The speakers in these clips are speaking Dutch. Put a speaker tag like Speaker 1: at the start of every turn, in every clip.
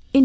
Speaker 1: verscheen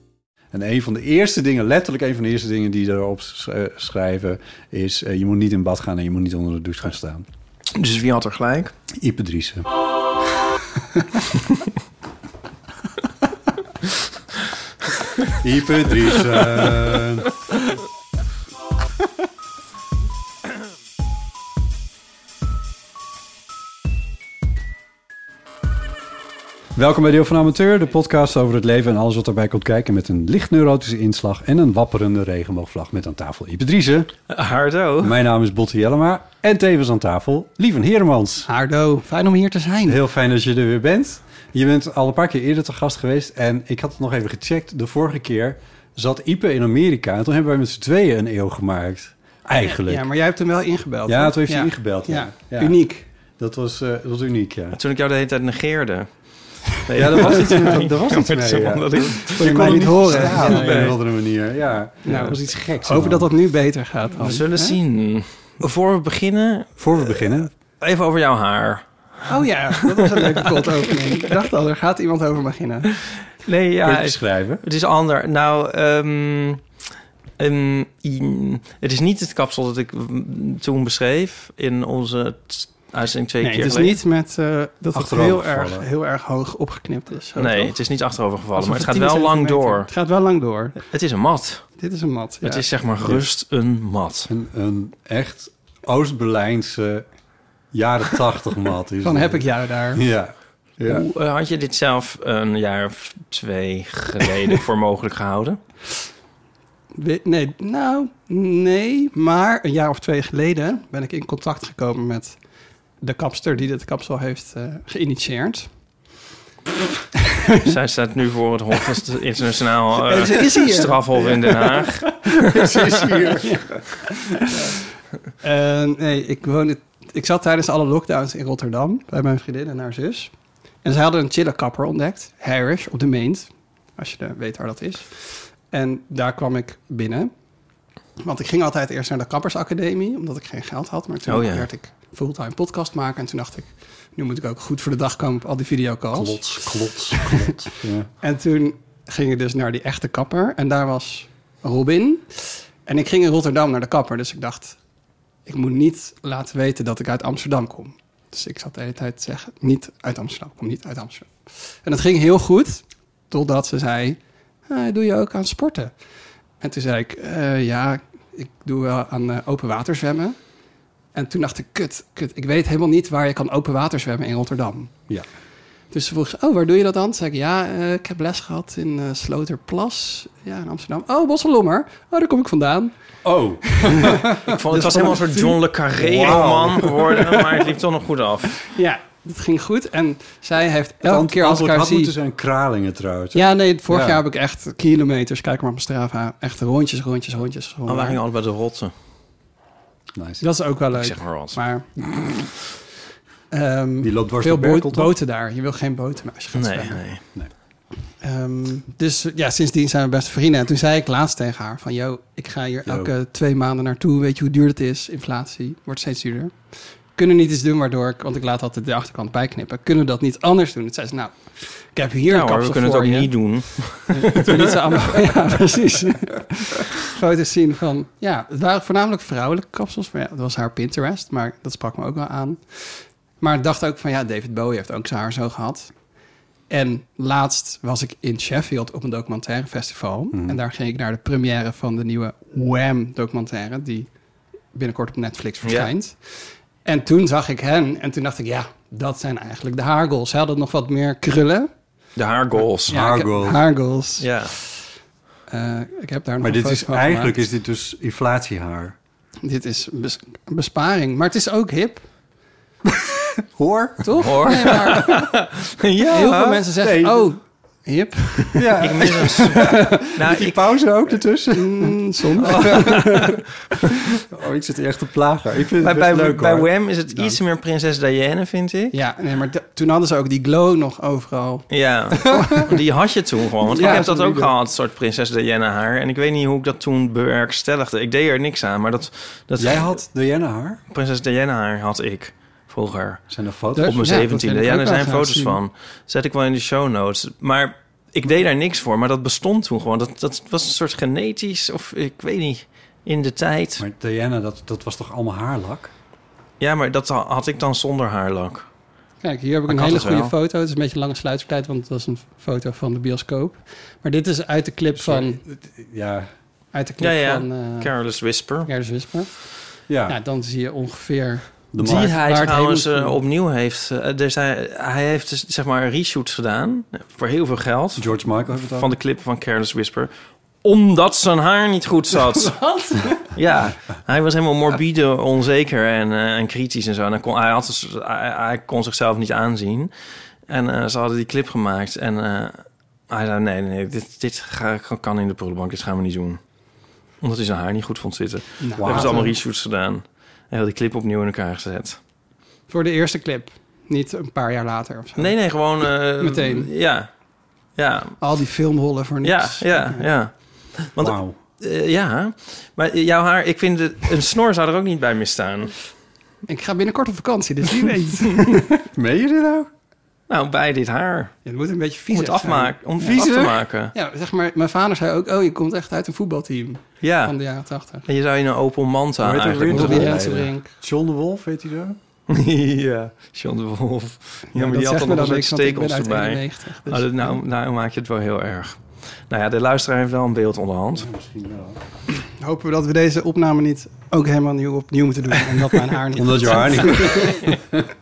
Speaker 2: En een van de eerste dingen, letterlijk een van de eerste dingen die erop sch- eh, schrijven, is: eh, je moet niet in bad gaan en je moet niet onder de douche gaan staan.
Speaker 3: Dus wie had er gelijk?
Speaker 2: Ipe Driessen. Ipe Driessen. Welkom bij Deel van Amateur, de podcast over het leven en alles wat erbij komt kijken... met een licht neurotische inslag en een wapperende regenboogvlag met aan tafel Ipe Driessen.
Speaker 3: Hardo.
Speaker 2: Mijn naam is Botte Jellema en tevens aan tafel Lieven Heremans.
Speaker 4: Hardo, fijn om hier te zijn.
Speaker 2: Heel fijn dat je er weer bent. Je bent al een paar keer eerder te gast geweest en ik had het nog even gecheckt. De vorige keer zat Ipe in Amerika en toen hebben wij met z'n tweeën een eeuw gemaakt. Eigenlijk.
Speaker 4: Ja, maar jij hebt hem wel ingebeld.
Speaker 2: Ja,
Speaker 4: hè?
Speaker 2: toen heeft hij ingebeld, ja. Ja.
Speaker 4: Uniek.
Speaker 2: dat, was, eh, dat was uniek, ja.
Speaker 3: Toen ik jou de hele tijd negeerde. Nee,
Speaker 2: Ja, dat was iets, dat was iets
Speaker 3: met
Speaker 2: mee,
Speaker 3: zo'n
Speaker 2: ja.
Speaker 3: onderling.
Speaker 2: Je, kon
Speaker 4: mij
Speaker 2: hem
Speaker 4: niet
Speaker 2: niet
Speaker 4: horen.
Speaker 2: horen
Speaker 4: Ja,
Speaker 2: op
Speaker 4: nee.
Speaker 2: een of andere manier. Ja,
Speaker 4: Nou,
Speaker 2: dat was iets geks.
Speaker 4: Hopen
Speaker 2: man.
Speaker 4: dat dat nu beter gaat.
Speaker 3: We
Speaker 4: dan,
Speaker 3: zullen
Speaker 4: hè?
Speaker 3: zien. Voor we beginnen,
Speaker 2: Voor we beginnen,
Speaker 3: even over jouw haar.
Speaker 4: Oh ja, dat was een leuke cold opening. Ik dacht al, er gaat iemand over beginnen.
Speaker 2: kun
Speaker 3: Nee,
Speaker 2: je
Speaker 3: ja,
Speaker 2: het
Speaker 3: het is,
Speaker 2: beschrijven?
Speaker 3: het is ander. Nou, ehm, ehm, in- het is niet het kapsel dat ik mm, toen beschreef in onze t- uitzending twee
Speaker 4: Nee,
Speaker 3: keer
Speaker 4: het is
Speaker 3: geleden.
Speaker 4: niet met eh, dat het
Speaker 2: Achterover
Speaker 4: heel erg,
Speaker 2: vallen.
Speaker 4: heel erg hoog opgeknipt is. Zo,
Speaker 3: nee,
Speaker 4: Oh, toch?
Speaker 3: het is niet achterovergevallen,
Speaker 4: Alsof
Speaker 3: maar het gaat
Speaker 4: 10
Speaker 3: wel lang
Speaker 4: centimeter-
Speaker 3: door.
Speaker 4: Het gaat wel lang door.
Speaker 3: Het is een mat.
Speaker 4: Dit is een mat. ja.
Speaker 3: Het is zeg maar gerust een mat.
Speaker 2: Een, een echt Oost-Berlijnse jaren tachtig mat. is
Speaker 4: Van
Speaker 2: het.
Speaker 4: heb ik jou daar.
Speaker 2: Ja. ja.
Speaker 3: Hoe eh, had je dit zelf een jaar of twee geleden voor mogelijk gehouden?
Speaker 4: We- Nee, nou, nee. Maar een jaar of twee geleden ben ik in contact gekomen met de kapster die dit kapsel heeft eh, geïnitieerd.
Speaker 3: Zij staat nu voor het Hof van het Internationaal eh,
Speaker 4: En ze is hier.
Speaker 3: Strafhof in Den Haag.
Speaker 4: Eh, nee, ik, woonde, ik zat tijdens alle lockdowns in Rotterdam bij mijn vriendin en haar zus. En ze hadden een chille kapper ontdekt, Harris, op de Meent. Als je eh, weet waar dat is. En daar kwam ik binnen. Want ik ging altijd eerst naar de kappersacademie, omdat ik geen geld had. Maar toen
Speaker 3: Oh ja.
Speaker 4: werd ik fulltime podcast maken. En toen dacht ik, nu moet ik ook goed voor de dag komen op al die videocalls.
Speaker 2: Klots, klots, klots. ja.
Speaker 4: En toen ging ik dus naar die echte kapper. En daar was Robin. En ik ging in Rotterdam naar de kapper. Dus ik dacht, ik moet niet laten weten dat ik uit Amsterdam kom. Dus ik zat de hele tijd te zeggen, niet uit Amsterdam, ik kom niet uit Amsterdam. En dat ging heel goed, totdat ze zei, "Eh, doe je ook aan sporten? En toen zei ik, "Eh, ja, ik doe wel aan eh, open water zwemmen. En toen dacht ik, kut, kut, ik weet helemaal niet waar je kan open water zwemmen in Rotterdam.
Speaker 2: Ja.
Speaker 4: Dus ze vroeg ze, oh, waar doe je dat dan? Toen zei ik, ja, eh, ik heb les gehad in eh, Sloterplas, ja, in Amsterdam. Oh, Bosselommer, oh, daar kom ik vandaan.
Speaker 2: Oh,
Speaker 3: Ik vond, het was helemaal een soort John le Carré roman geworden, maar het liep toch nog goed af.
Speaker 4: Ja, dat ging goed. En zij heeft elke
Speaker 2: het
Speaker 4: keer als ik
Speaker 2: antwoord
Speaker 4: haar
Speaker 2: had moeten
Speaker 4: zie...
Speaker 2: zijn kralingen trouwens.
Speaker 4: Ja, nee, vorig
Speaker 2: Ja.
Speaker 4: jaar heb ik echt kilometers, kijk maar op mijn Strava, echt rondjes, rondjes, rondjes.
Speaker 3: Maar Oh, wij
Speaker 4: rondjes.
Speaker 3: gingen allebei de rotten.
Speaker 2: Nice.
Speaker 4: dat is ook wel leuk.
Speaker 3: Ik zeg maar rot.
Speaker 4: Maar... ehm,
Speaker 2: Die loopt dwars
Speaker 4: veel
Speaker 2: door Berkel,
Speaker 4: boot-
Speaker 2: toch?
Speaker 4: boten daar. Je wil geen boten meer als je gaat
Speaker 3: Nee,
Speaker 4: zwemmen.
Speaker 3: nee.
Speaker 4: Ehm, dus ja, sindsdien zijn we beste vrienden. En toen zei ik laatst tegen haar van... Yo, ik ga hier
Speaker 2: Yo.
Speaker 4: elke twee maanden naartoe. Weet je hoe duur het is? Inflatie wordt steeds duurder. kunnen niet iets doen waardoor ik... Want ik laat altijd de achterkant bijknippen. Kunnen we dat niet anders doen? Toen zei ze, nou, ik heb hier een
Speaker 3: nou, hoor,
Speaker 4: kapsel
Speaker 3: we kunnen het
Speaker 4: voor
Speaker 3: ook
Speaker 4: je.
Speaker 3: niet doen.
Speaker 4: Toen liet ze allemaal, ja, precies. Foto's zien van, ja, het waren voornamelijk vrouwelijke kapsels. Maar ja, dat was haar Pinterest, maar dat sprak me ook wel aan. Maar ik dacht ook van, ja, David Bowie heeft ook zijn haar zo gehad. En laatst was ik in Sheffield op een documentaire festival. En daar ging ik naar de première van de nieuwe Wham documentaire... die binnenkort op Netflix verschijnt. En toen zag ik hen en toen dacht ik, ja, dat zijn eigenlijk de haargoals. Ze hadden nog wat meer krullen.
Speaker 3: De haargoals.
Speaker 4: Ja, ik heb-
Speaker 2: Haargoals.
Speaker 4: Haargoals.
Speaker 3: Ja.
Speaker 4: Eh, ik heb daar nog
Speaker 2: Maar dit
Speaker 4: een foto
Speaker 2: is,
Speaker 4: van
Speaker 2: eigenlijk is
Speaker 4: gemaakt.
Speaker 2: dit dus inflatiehaar.
Speaker 4: Dit is bes- besparing. Maar het is ook hip,
Speaker 2: Hoor?
Speaker 4: toch?
Speaker 3: Hoor.
Speaker 4: Nee, maar
Speaker 3: ja.
Speaker 4: heel veel mensen zeggen,
Speaker 2: Nee.
Speaker 4: oh, hip.
Speaker 2: Ja.
Speaker 3: Ik mis een... nou,
Speaker 2: die
Speaker 3: ik,
Speaker 2: pauze ook ertussen.
Speaker 4: Mm, soms.
Speaker 2: Oh, ik zit echt te plagen. Ik vind
Speaker 3: bij,
Speaker 2: het
Speaker 3: bij,
Speaker 2: best leuk
Speaker 3: bij
Speaker 2: hoor.
Speaker 3: Wham is het iets meer prinses Diana, vind ik.
Speaker 4: Ja, nee, maar da- toen hadden ze ook die glow nog overal.
Speaker 3: Ja, die had je toen gewoon. Want
Speaker 4: Ja,
Speaker 3: ik heb dat
Speaker 4: zo'n
Speaker 3: ook
Speaker 4: video.
Speaker 3: gehad, een soort prinses Diana haar. En ik weet niet hoe ik dat toen bewerkstelligde. Ik deed er niks aan, maar dat... dat
Speaker 2: Jij had Diana haar?
Speaker 3: Prinses Diana haar had ik vroeger.
Speaker 2: Zijn er foto's?
Speaker 4: Dus-
Speaker 3: Op mijn
Speaker 4: Ja, dat wil
Speaker 3: zeventiende.
Speaker 4: ik
Speaker 3: Ja,
Speaker 4: ook
Speaker 3: daar
Speaker 4: wel
Speaker 3: zijn
Speaker 4: graag
Speaker 3: foto's
Speaker 4: zien.
Speaker 3: van. Zet ik wel in de show notes. Maar ik deed daar niks voor. Maar dat bestond toen gewoon. Dat, dat was een soort genetisch of ik weet niet. In de tijd.
Speaker 2: Maar Diana, dat, dat was toch allemaal haarlak?
Speaker 3: Ja, maar dat ha- had ik dan zonder haarlak.
Speaker 4: Kijk, hier heb ik
Speaker 3: Ik
Speaker 4: een
Speaker 3: had
Speaker 4: hele
Speaker 3: het
Speaker 4: goede
Speaker 3: wel.
Speaker 4: foto. Het is een beetje lange sluitertijd, want het was een foto van de bioscoop. Maar dit is uit de clip van...
Speaker 2: Ja.
Speaker 4: Uit de
Speaker 3: Ja,
Speaker 4: clip
Speaker 3: ja.
Speaker 4: van... eh
Speaker 3: Careless Whisper.
Speaker 4: Gerdus Wisper.
Speaker 2: Ja.
Speaker 4: Nou, dan zie je ongeveer...
Speaker 2: de
Speaker 3: Die
Speaker 2: markt.
Speaker 3: hij
Speaker 4: waar het
Speaker 3: trouwens
Speaker 4: heen moet.
Speaker 3: eh, opnieuw heeft. eh, er zijn, hij heeft dus, zeg maar reshoots gedaan. eh, Voor heel veel geld.
Speaker 2: George Michael heeft het
Speaker 3: Van de clip van Careless Whisper. Omdat zijn haar niet goed zat.
Speaker 4: Wat?
Speaker 3: Ja, hij was helemaal morbide, onzeker en, eh, en kritisch en zo. En hij, kon, hij, had, dus- hij, hij kon zichzelf niet aanzien. En eh, ze hadden die clip gemaakt. En eh, hij zei, nee, nee, nee, dit, dit ga, kan in de prullenbank. Dit gaan we niet doen. Omdat hij zijn haar niet goed vond zitten. We
Speaker 4: Nou,
Speaker 3: hebben ze allemaal reshoots gedaan. En heel die clip opnieuw in elkaar gezet.
Speaker 4: Voor de eerste clip. Niet een paar jaar later of zo.
Speaker 3: Nee, nee, gewoon... eh,
Speaker 4: Meteen.
Speaker 3: Ja, ja,
Speaker 4: Al die filmrollen voor
Speaker 3: ja,
Speaker 4: niks.
Speaker 3: ja, ja. Want
Speaker 2: Wauw.
Speaker 3: eh, ja, maar jouw haar, ik vind het, een snor zou er ook niet bij misstaan.
Speaker 4: Ik ga binnenkort op vakantie, dus wie weet. Ja,
Speaker 2: Meen je dit nou?
Speaker 3: Nou, bij dit haar.
Speaker 4: het moet een beetje vies
Speaker 3: om het afmaken, om het af
Speaker 2: Viezig?
Speaker 3: te maken.
Speaker 4: Ja, zeg maar, mijn vader zei ook, oh, je komt echt uit een voetbalteam
Speaker 3: Ja.
Speaker 4: van de jaren 80.
Speaker 3: En je zou je een Opel Manta
Speaker 2: Hoe heet dat
Speaker 3: eigenlijk
Speaker 2: weer?
Speaker 3: moeten
Speaker 4: Robbie
Speaker 2: opleiden.
Speaker 4: Rensenbrink.
Speaker 2: John de Wolf, weet hij dat?
Speaker 3: doen. ja, John de Wolf. Ja, maar
Speaker 4: dat
Speaker 3: die had
Speaker 4: zegt
Speaker 3: dan
Speaker 4: me
Speaker 3: nog een soort
Speaker 4: niks, want ik ben
Speaker 3: stekels
Speaker 4: uit
Speaker 3: erbij.
Speaker 4: 91, dus-
Speaker 3: Oh, dat- nou, nou maak je het wel heel erg. Nou ja, de luisteraar heeft wel een beeld onderhand.
Speaker 2: Misschien wel.
Speaker 4: Hopen we dat we deze opname niet ook helemaal nieuw opnieuw moeten doen. Omdat mijn haar niet...
Speaker 2: Omdat je haar niet...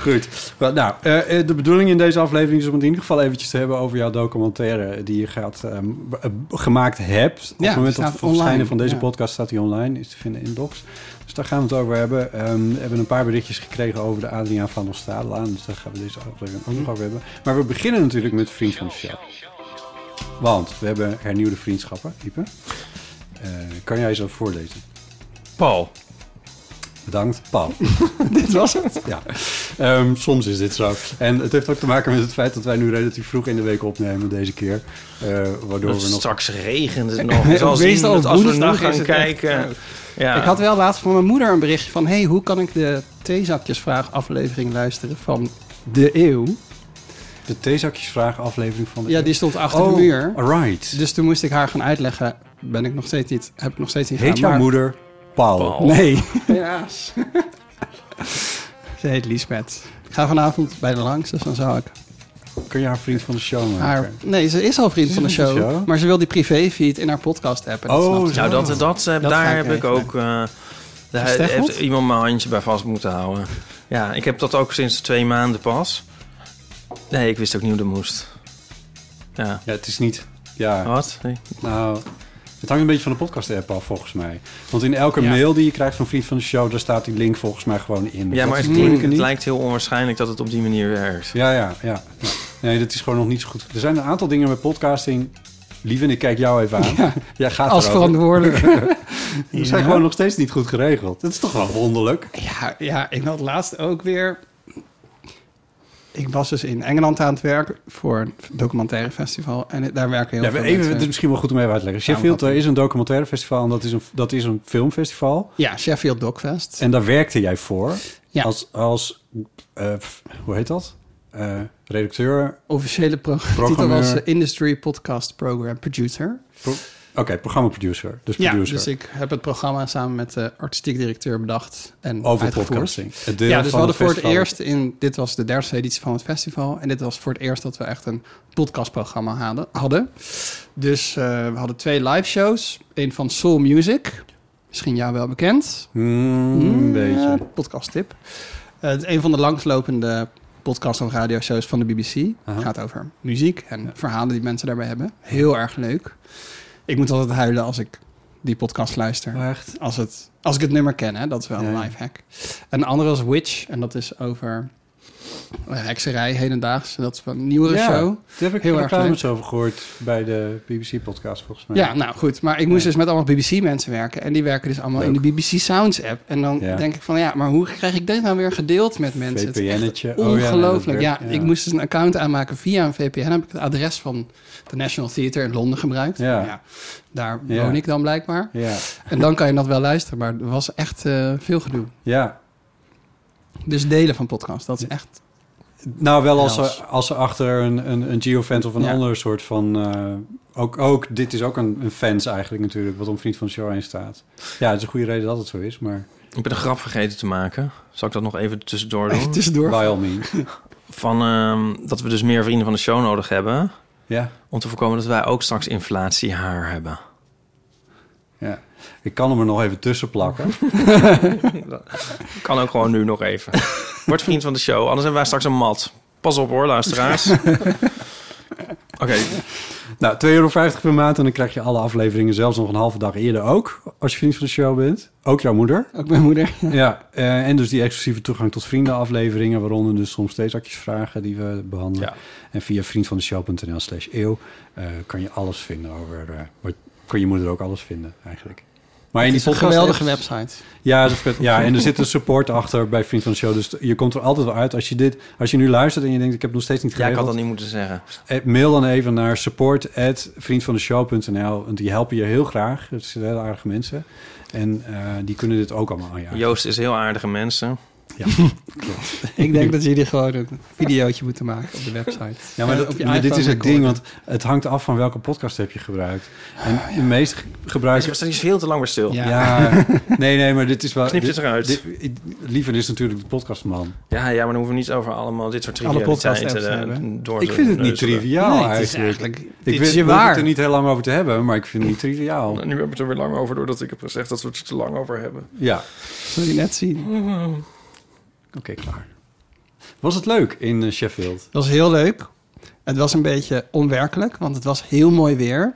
Speaker 2: Goed. Wel, Nou, eh, eh, de bedoeling in deze aflevering is om het in ieder geval eventjes te hebben over jouw documentaire die je gaat, ehm, b- eh, b- gemaakt hebt. Op
Speaker 4: Ja,
Speaker 2: het moment
Speaker 4: staat
Speaker 2: dat het verschijnen
Speaker 4: online,
Speaker 2: van deze
Speaker 4: ja.
Speaker 2: podcast staat die online, is te vinden in Docs. Dus daar gaan we het over hebben. Ehm, we hebben een paar berichtjes gekregen over de Adriaan van Oostadelaan, dus daar gaan we deze aflevering ook nog over hebben. Maar we beginnen natuurlijk met Vriend van de Show. Want we hebben hernieuwde vriendschappen, Ieper. Eh, kan jij zo voorlezen?
Speaker 3: Paul.
Speaker 2: Bedankt, Paul.
Speaker 4: Dit was het.
Speaker 2: Ja, Ehm, soms is dit zo. En het heeft ook te maken met het feit dat wij nu relatief vroeg in de week opnemen deze keer. Eh, waardoor
Speaker 3: Het
Speaker 2: we nog...
Speaker 3: straks regent het nog. Je zal zien
Speaker 4: Meestal
Speaker 3: dat als we nu
Speaker 4: woensdag is
Speaker 3: gaan
Speaker 4: het echt-
Speaker 3: kijken... Ja.
Speaker 4: Ik had wel laatst van mijn moeder een berichtje van... hey, hoe kan ik de theezakjesvraag aflevering luisteren van de eeuw?
Speaker 2: De theezakjesvraag aflevering van de...
Speaker 4: Ja, die stond achter
Speaker 2: oh,
Speaker 4: de muur.
Speaker 2: alright.
Speaker 4: Dus toen moest ik haar gaan uitleggen. Ben ik nog steeds niet, heb ik nog steeds niet
Speaker 2: Heet jouw
Speaker 4: gedaan, maar-
Speaker 2: moeder Paul?
Speaker 3: Paul.
Speaker 4: Nee. Helaas. Ze heet Liesbeth. Ik ga vanavond bij de langs, dus dan zou ik
Speaker 2: Kun je haar vriend van de show maken?
Speaker 4: haar... Nee, ze is al vriend van de
Speaker 2: vriend van
Speaker 4: show,
Speaker 2: de show?
Speaker 4: maar ze wil die privéfeed in haar podcast appen.
Speaker 2: Oh,
Speaker 4: snapt ze.
Speaker 2: zo.
Speaker 3: Nou, dat, dat, eh,
Speaker 4: Dat ga
Speaker 3: daar
Speaker 4: ik
Speaker 3: heb ik
Speaker 4: regelen.
Speaker 3: ook... eh, daar
Speaker 4: Gesteggeld?
Speaker 3: heeft iemand mijn handje bij vast moeten houden. Ja, ik heb dat ook sinds twee maanden pas. Nee, ik wist ook niet hoe dat moest. Ja.
Speaker 2: Ja, het is niet... Ja,
Speaker 3: Wat? Nee.
Speaker 2: nou... Het hangt een beetje van de podcast-app af, volgens mij. Want in elke
Speaker 4: Ja.
Speaker 2: mail die je krijgt van vriend van de show... daar staat die link volgens mij gewoon in.
Speaker 3: Ja,
Speaker 2: Dat
Speaker 3: maar
Speaker 2: is
Speaker 3: het,
Speaker 2: moeilijke
Speaker 3: klinkt, het
Speaker 2: niet.
Speaker 3: lijkt heel onwaarschijnlijk dat het op die manier werkt.
Speaker 2: Ja, ja, ja. Nee, dat is gewoon nog niet zo goed. Er zijn een aantal dingen met podcasting. Lieve, en ik kijk jou even aan. Jij gaat
Speaker 4: Als
Speaker 2: erover.
Speaker 4: verantwoordelijk.
Speaker 2: Die zijn gewoon nog steeds niet goed geregeld. Dat is toch wel wonderlijk.
Speaker 4: ja, ja, ik had laatst ook weer... ik was dus in Engeland aan het werken voor een documentaire festival. En daar werken heel
Speaker 2: Ja,
Speaker 4: veel
Speaker 2: maar even,
Speaker 4: mensen.
Speaker 2: het is misschien wel goed om even uit te leggen. Sheffield, er is een documentaire festival en dat is een, dat is een filmfestival.
Speaker 4: Ja, Sheffield Dogfest.
Speaker 2: En daar werkte jij voor
Speaker 4: Ja.
Speaker 2: als, als eh, f- hoe heet dat? Eh, redacteur,
Speaker 4: Officiële pro- titel
Speaker 2: Programmeur.
Speaker 4: was eh, Industry Podcast Program Producer.
Speaker 2: pro- oké, programmaproducer, dus
Speaker 4: Ja,
Speaker 2: producer.
Speaker 4: dus ik heb het programma samen met de artistiek directeur bedacht en
Speaker 2: over
Speaker 4: uitgevoerd.
Speaker 2: podcasting. Het deel
Speaker 4: Ja, dus we
Speaker 2: van
Speaker 4: hadden voor het
Speaker 2: festival.
Speaker 4: eerst in... Dit was de derde editie van het festival. En dit was voor het eerst dat we echt een podcastprogramma hadden. hadden. Dus eh, we hadden twee live shows. Eén van Soul Music. Misschien jou wel bekend.
Speaker 2: Hmm, een beetje.
Speaker 4: podcast tip. Eh, het is een van de langslopende podcast- en radioshows van de BBC. Het gaat over muziek en verhalen die mensen daarbij hebben. Heel erg leuk. Ik moet altijd huilen als ik die podcast luister.
Speaker 2: Oh, Echt?
Speaker 4: Als, het, als ik het nummer ken, hè? dat is wel
Speaker 2: Ja,
Speaker 4: een
Speaker 2: ja.
Speaker 4: live hack. En de andere was Witch, en dat is over eh, hekserij hedendaags. Dat is wel een nieuwere
Speaker 2: Ja,
Speaker 4: show.
Speaker 2: daar heb ik
Speaker 4: Heel
Speaker 2: heel
Speaker 4: erg
Speaker 2: reclames over gehoord bij de BBC-podcast volgens mij.
Speaker 4: Ja, nou goed. Maar ik moest dus met allemaal BBC-mensen werken. En die werken dus allemaal in de BBC Sounds-app. En dan
Speaker 2: Ja.
Speaker 4: denk ik van, ja, maar hoe krijg ik dit nou weer gedeeld met mensen? Het is echt
Speaker 2: VPN-etje. Oh ja, nee, dat
Speaker 4: Ongelooflijk. ja,
Speaker 2: werkt, ja.
Speaker 4: ik moest dus een account aanmaken via een VPN. Heb ik het adres van de National Theatre in Londen gebruikt.
Speaker 2: Ja.
Speaker 4: Nou ja, daar
Speaker 2: Ja.
Speaker 4: woon ik dan blijkbaar.
Speaker 2: Ja,
Speaker 4: En dan kan je dat wel luisteren. Maar er was echt eh, veel gedoe.
Speaker 2: ja.
Speaker 4: Dus delen van podcast, dat is echt...
Speaker 2: Nou, wel als
Speaker 4: Hels.
Speaker 2: ze, als ze achter een, een, een geofans of een
Speaker 4: Ja.
Speaker 2: ander soort van... eh, ook, ook, dit is ook een, een fans eigenlijk natuurlijk, wat om vriend van de show heen staat. Ja, het is een goede reden dat het zo is, maar
Speaker 3: Ik ben een grap vergeten te maken. Zal ik dat nog even tussendoor
Speaker 2: Oh.
Speaker 3: doen?
Speaker 4: tussendoor.
Speaker 2: by all means.
Speaker 3: Van ehm, dat we dus meer vrienden van de show nodig hebben.
Speaker 2: ja,
Speaker 3: Om te voorkomen dat wij ook straks inflatiehaar hebben.
Speaker 2: ja. Ik kan hem er nog even tussen plakken.
Speaker 3: Kan ook gewoon nu nog even. Word vriend van de show, anders hebben wij straks een mat. Pas op hoor, luisteraars. Oké,
Speaker 2: nou, 2,50 euro per maand en dan krijg je alle afleveringen zelfs nog een halve dag eerder ook. Als je vriend van de show bent. Ook jouw moeder.
Speaker 4: Ook mijn moeder.
Speaker 2: Ja, eh, en dus die exclusieve toegang tot vriendenafleveringen... waaronder dus soms theezakjes vragen die we behandelen.
Speaker 3: Ja.
Speaker 2: En via vriendvandeshow.nl slash eeuw... eh, kan je alles vinden over... eh, wat- kan je moeder ook alles vinden, eigenlijk. Maar in
Speaker 4: Het
Speaker 2: die
Speaker 4: is een
Speaker 2: podcast-
Speaker 4: geweldige website.
Speaker 2: Ja, dat is- ja, en er zit een support achter bij Vriend van de Show. Dus je komt er altijd wel uit. Als je, dit, als je nu luistert en je denkt... ik heb het nog steeds niet
Speaker 3: jij
Speaker 2: geregeld...
Speaker 3: kan dat niet moeten zeggen.
Speaker 2: Eh, Mail dan even naar support@vriendvandeshow.nl. Want die helpen je heel graag. Het zijn heel aardige mensen. En eh, die kunnen dit ook allemaal aan je uit.
Speaker 3: Joost is heel aardige mensen.
Speaker 4: Ik denk dat jullie gewoon een videootje moeten maken op de website.
Speaker 2: Ja, maar,
Speaker 4: Eh,
Speaker 2: dat-
Speaker 4: op je
Speaker 2: maar dit
Speaker 4: iPhone
Speaker 2: is het
Speaker 4: recorder. Ah,
Speaker 2: ding, want het hangt af van welke podcast heb je gebruikt. En de meest ge-
Speaker 3: Hij
Speaker 2: gebruikte...
Speaker 3: was er niet veel te lang bij stil.
Speaker 4: Ja.
Speaker 3: Ja,
Speaker 2: Ja, nee, nee, maar dit is wel...
Speaker 3: Knip dit
Speaker 2: dit-
Speaker 3: eruit.
Speaker 2: dit- i- Liever is natuurlijk de podcastman.
Speaker 3: ja, maar dan hoeven we niet over allemaal dit soort
Speaker 4: Alle podcast-apps
Speaker 3: trivialiteiten eh,
Speaker 4: hebben.
Speaker 3: door te
Speaker 2: Ik vind het niet
Speaker 3: neuzelen.
Speaker 2: triviaal
Speaker 4: Nee, het is
Speaker 2: eigenlijk.
Speaker 4: eigenlijk...
Speaker 2: Ik
Speaker 4: dit is
Speaker 2: weet-
Speaker 4: je
Speaker 2: we hoeven het
Speaker 4: waar.
Speaker 2: er niet heel lang over te hebben, maar ik vind het niet triviaal.
Speaker 3: En nu hebben we het er weer lang over, doordat ik heb gezegd dat we het er te lang over hebben.
Speaker 2: Ja,
Speaker 4: Zul je net zien.
Speaker 2: oké, klaar. Was het leuk in eh, Sheffield?
Speaker 4: Het was heel leuk. Het was een beetje onwerkelijk, want het was heel mooi weer.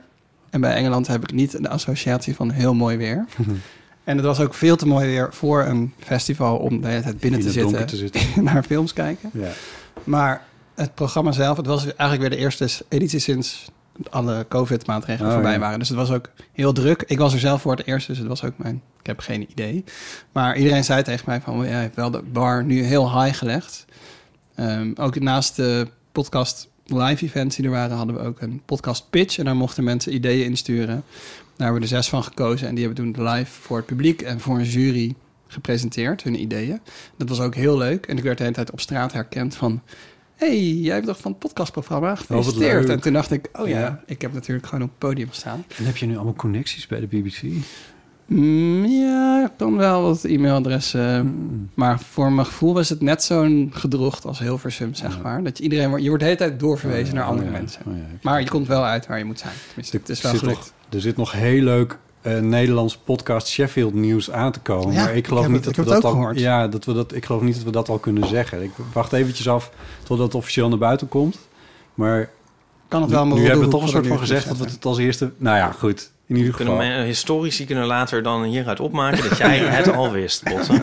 Speaker 4: En bij Engeland heb ik niet de associatie van heel mooi weer. en het was ook veel te mooi weer voor een festival om de hele tijd binnen
Speaker 2: In
Speaker 4: te
Speaker 2: het donker
Speaker 4: zitten,
Speaker 2: te zitten.
Speaker 4: naar films kijken.
Speaker 2: Ja.
Speaker 4: Maar het programma zelf, het was eigenlijk weer de eerste editie sinds alle COVID-maatregelen
Speaker 2: Oh,
Speaker 4: voorbij
Speaker 2: ja.
Speaker 4: waren. Dus het was ook heel druk. Ik was er zelf voor het eerst, dus het was ook mijn... Ik heb geen idee. Maar iedereen zei tegen mij van, jij hebt wel de bar nu heel high gelegd. Ehm, ook naast de podcast live events die er waren, hadden we ook een podcast pitch. En daar mochten mensen ideeën insturen. Daar hebben we er zes van gekozen. En die hebben toen live voor het publiek en voor een jury gepresenteerd, hun ideeën. Dat was ook heel leuk. En ik werd de hele tijd op straat herkend van... hey, jij hebt toch van het podcastprogramma gefeliciteerd?
Speaker 2: Oh, leuk.
Speaker 4: en toen dacht ik, oh ja,
Speaker 2: Ja.
Speaker 4: ik heb natuurlijk gewoon op het podium gestaan.
Speaker 2: En heb je nu allemaal connecties bij de BBC?
Speaker 4: Mm, ja, kan wel wat e-mailadressen. Maar voor mijn gevoel was het net zo'n gedrocht als Hilversum, zeg maar. Dat je, iedereen, wordt- je wordt de hele tijd doorverwezen naar andere
Speaker 2: Oh ja,
Speaker 4: mensen.
Speaker 2: oh ja, heb je-
Speaker 4: Maar je komt wel uit waar je moet zijn. Tenminste, het is wel
Speaker 2: zit
Speaker 4: gelukt.
Speaker 2: nog, er zit nog heel leuk eh, Nederlands podcast Sheffield nieuws aan te komen.
Speaker 4: Ja,
Speaker 2: maar ik geloof
Speaker 4: ik heb
Speaker 2: niet
Speaker 4: het-
Speaker 2: dat
Speaker 4: ik
Speaker 2: we
Speaker 4: heb het
Speaker 2: dat al.
Speaker 4: ook gehoord.
Speaker 2: Ja, dat we dat. Ik geloof niet dat we dat al kunnen zeggen. Ik wacht eventjes af totdat het officieel naar buiten komt. Maar
Speaker 4: Kan het
Speaker 2: nu
Speaker 4: wel maar
Speaker 2: hebben
Speaker 4: wel
Speaker 2: we
Speaker 4: doen
Speaker 2: toch een
Speaker 4: hoe
Speaker 2: soort
Speaker 4: we
Speaker 2: van
Speaker 4: er nu
Speaker 2: gezegd dat we
Speaker 4: zetten.
Speaker 2: het als eerste. Nou ja, goed. In ieder
Speaker 3: Kunnen
Speaker 2: geval.
Speaker 3: me- eh, historici kunnen later dan hieruit opmaken dat jij het al wist, Botten.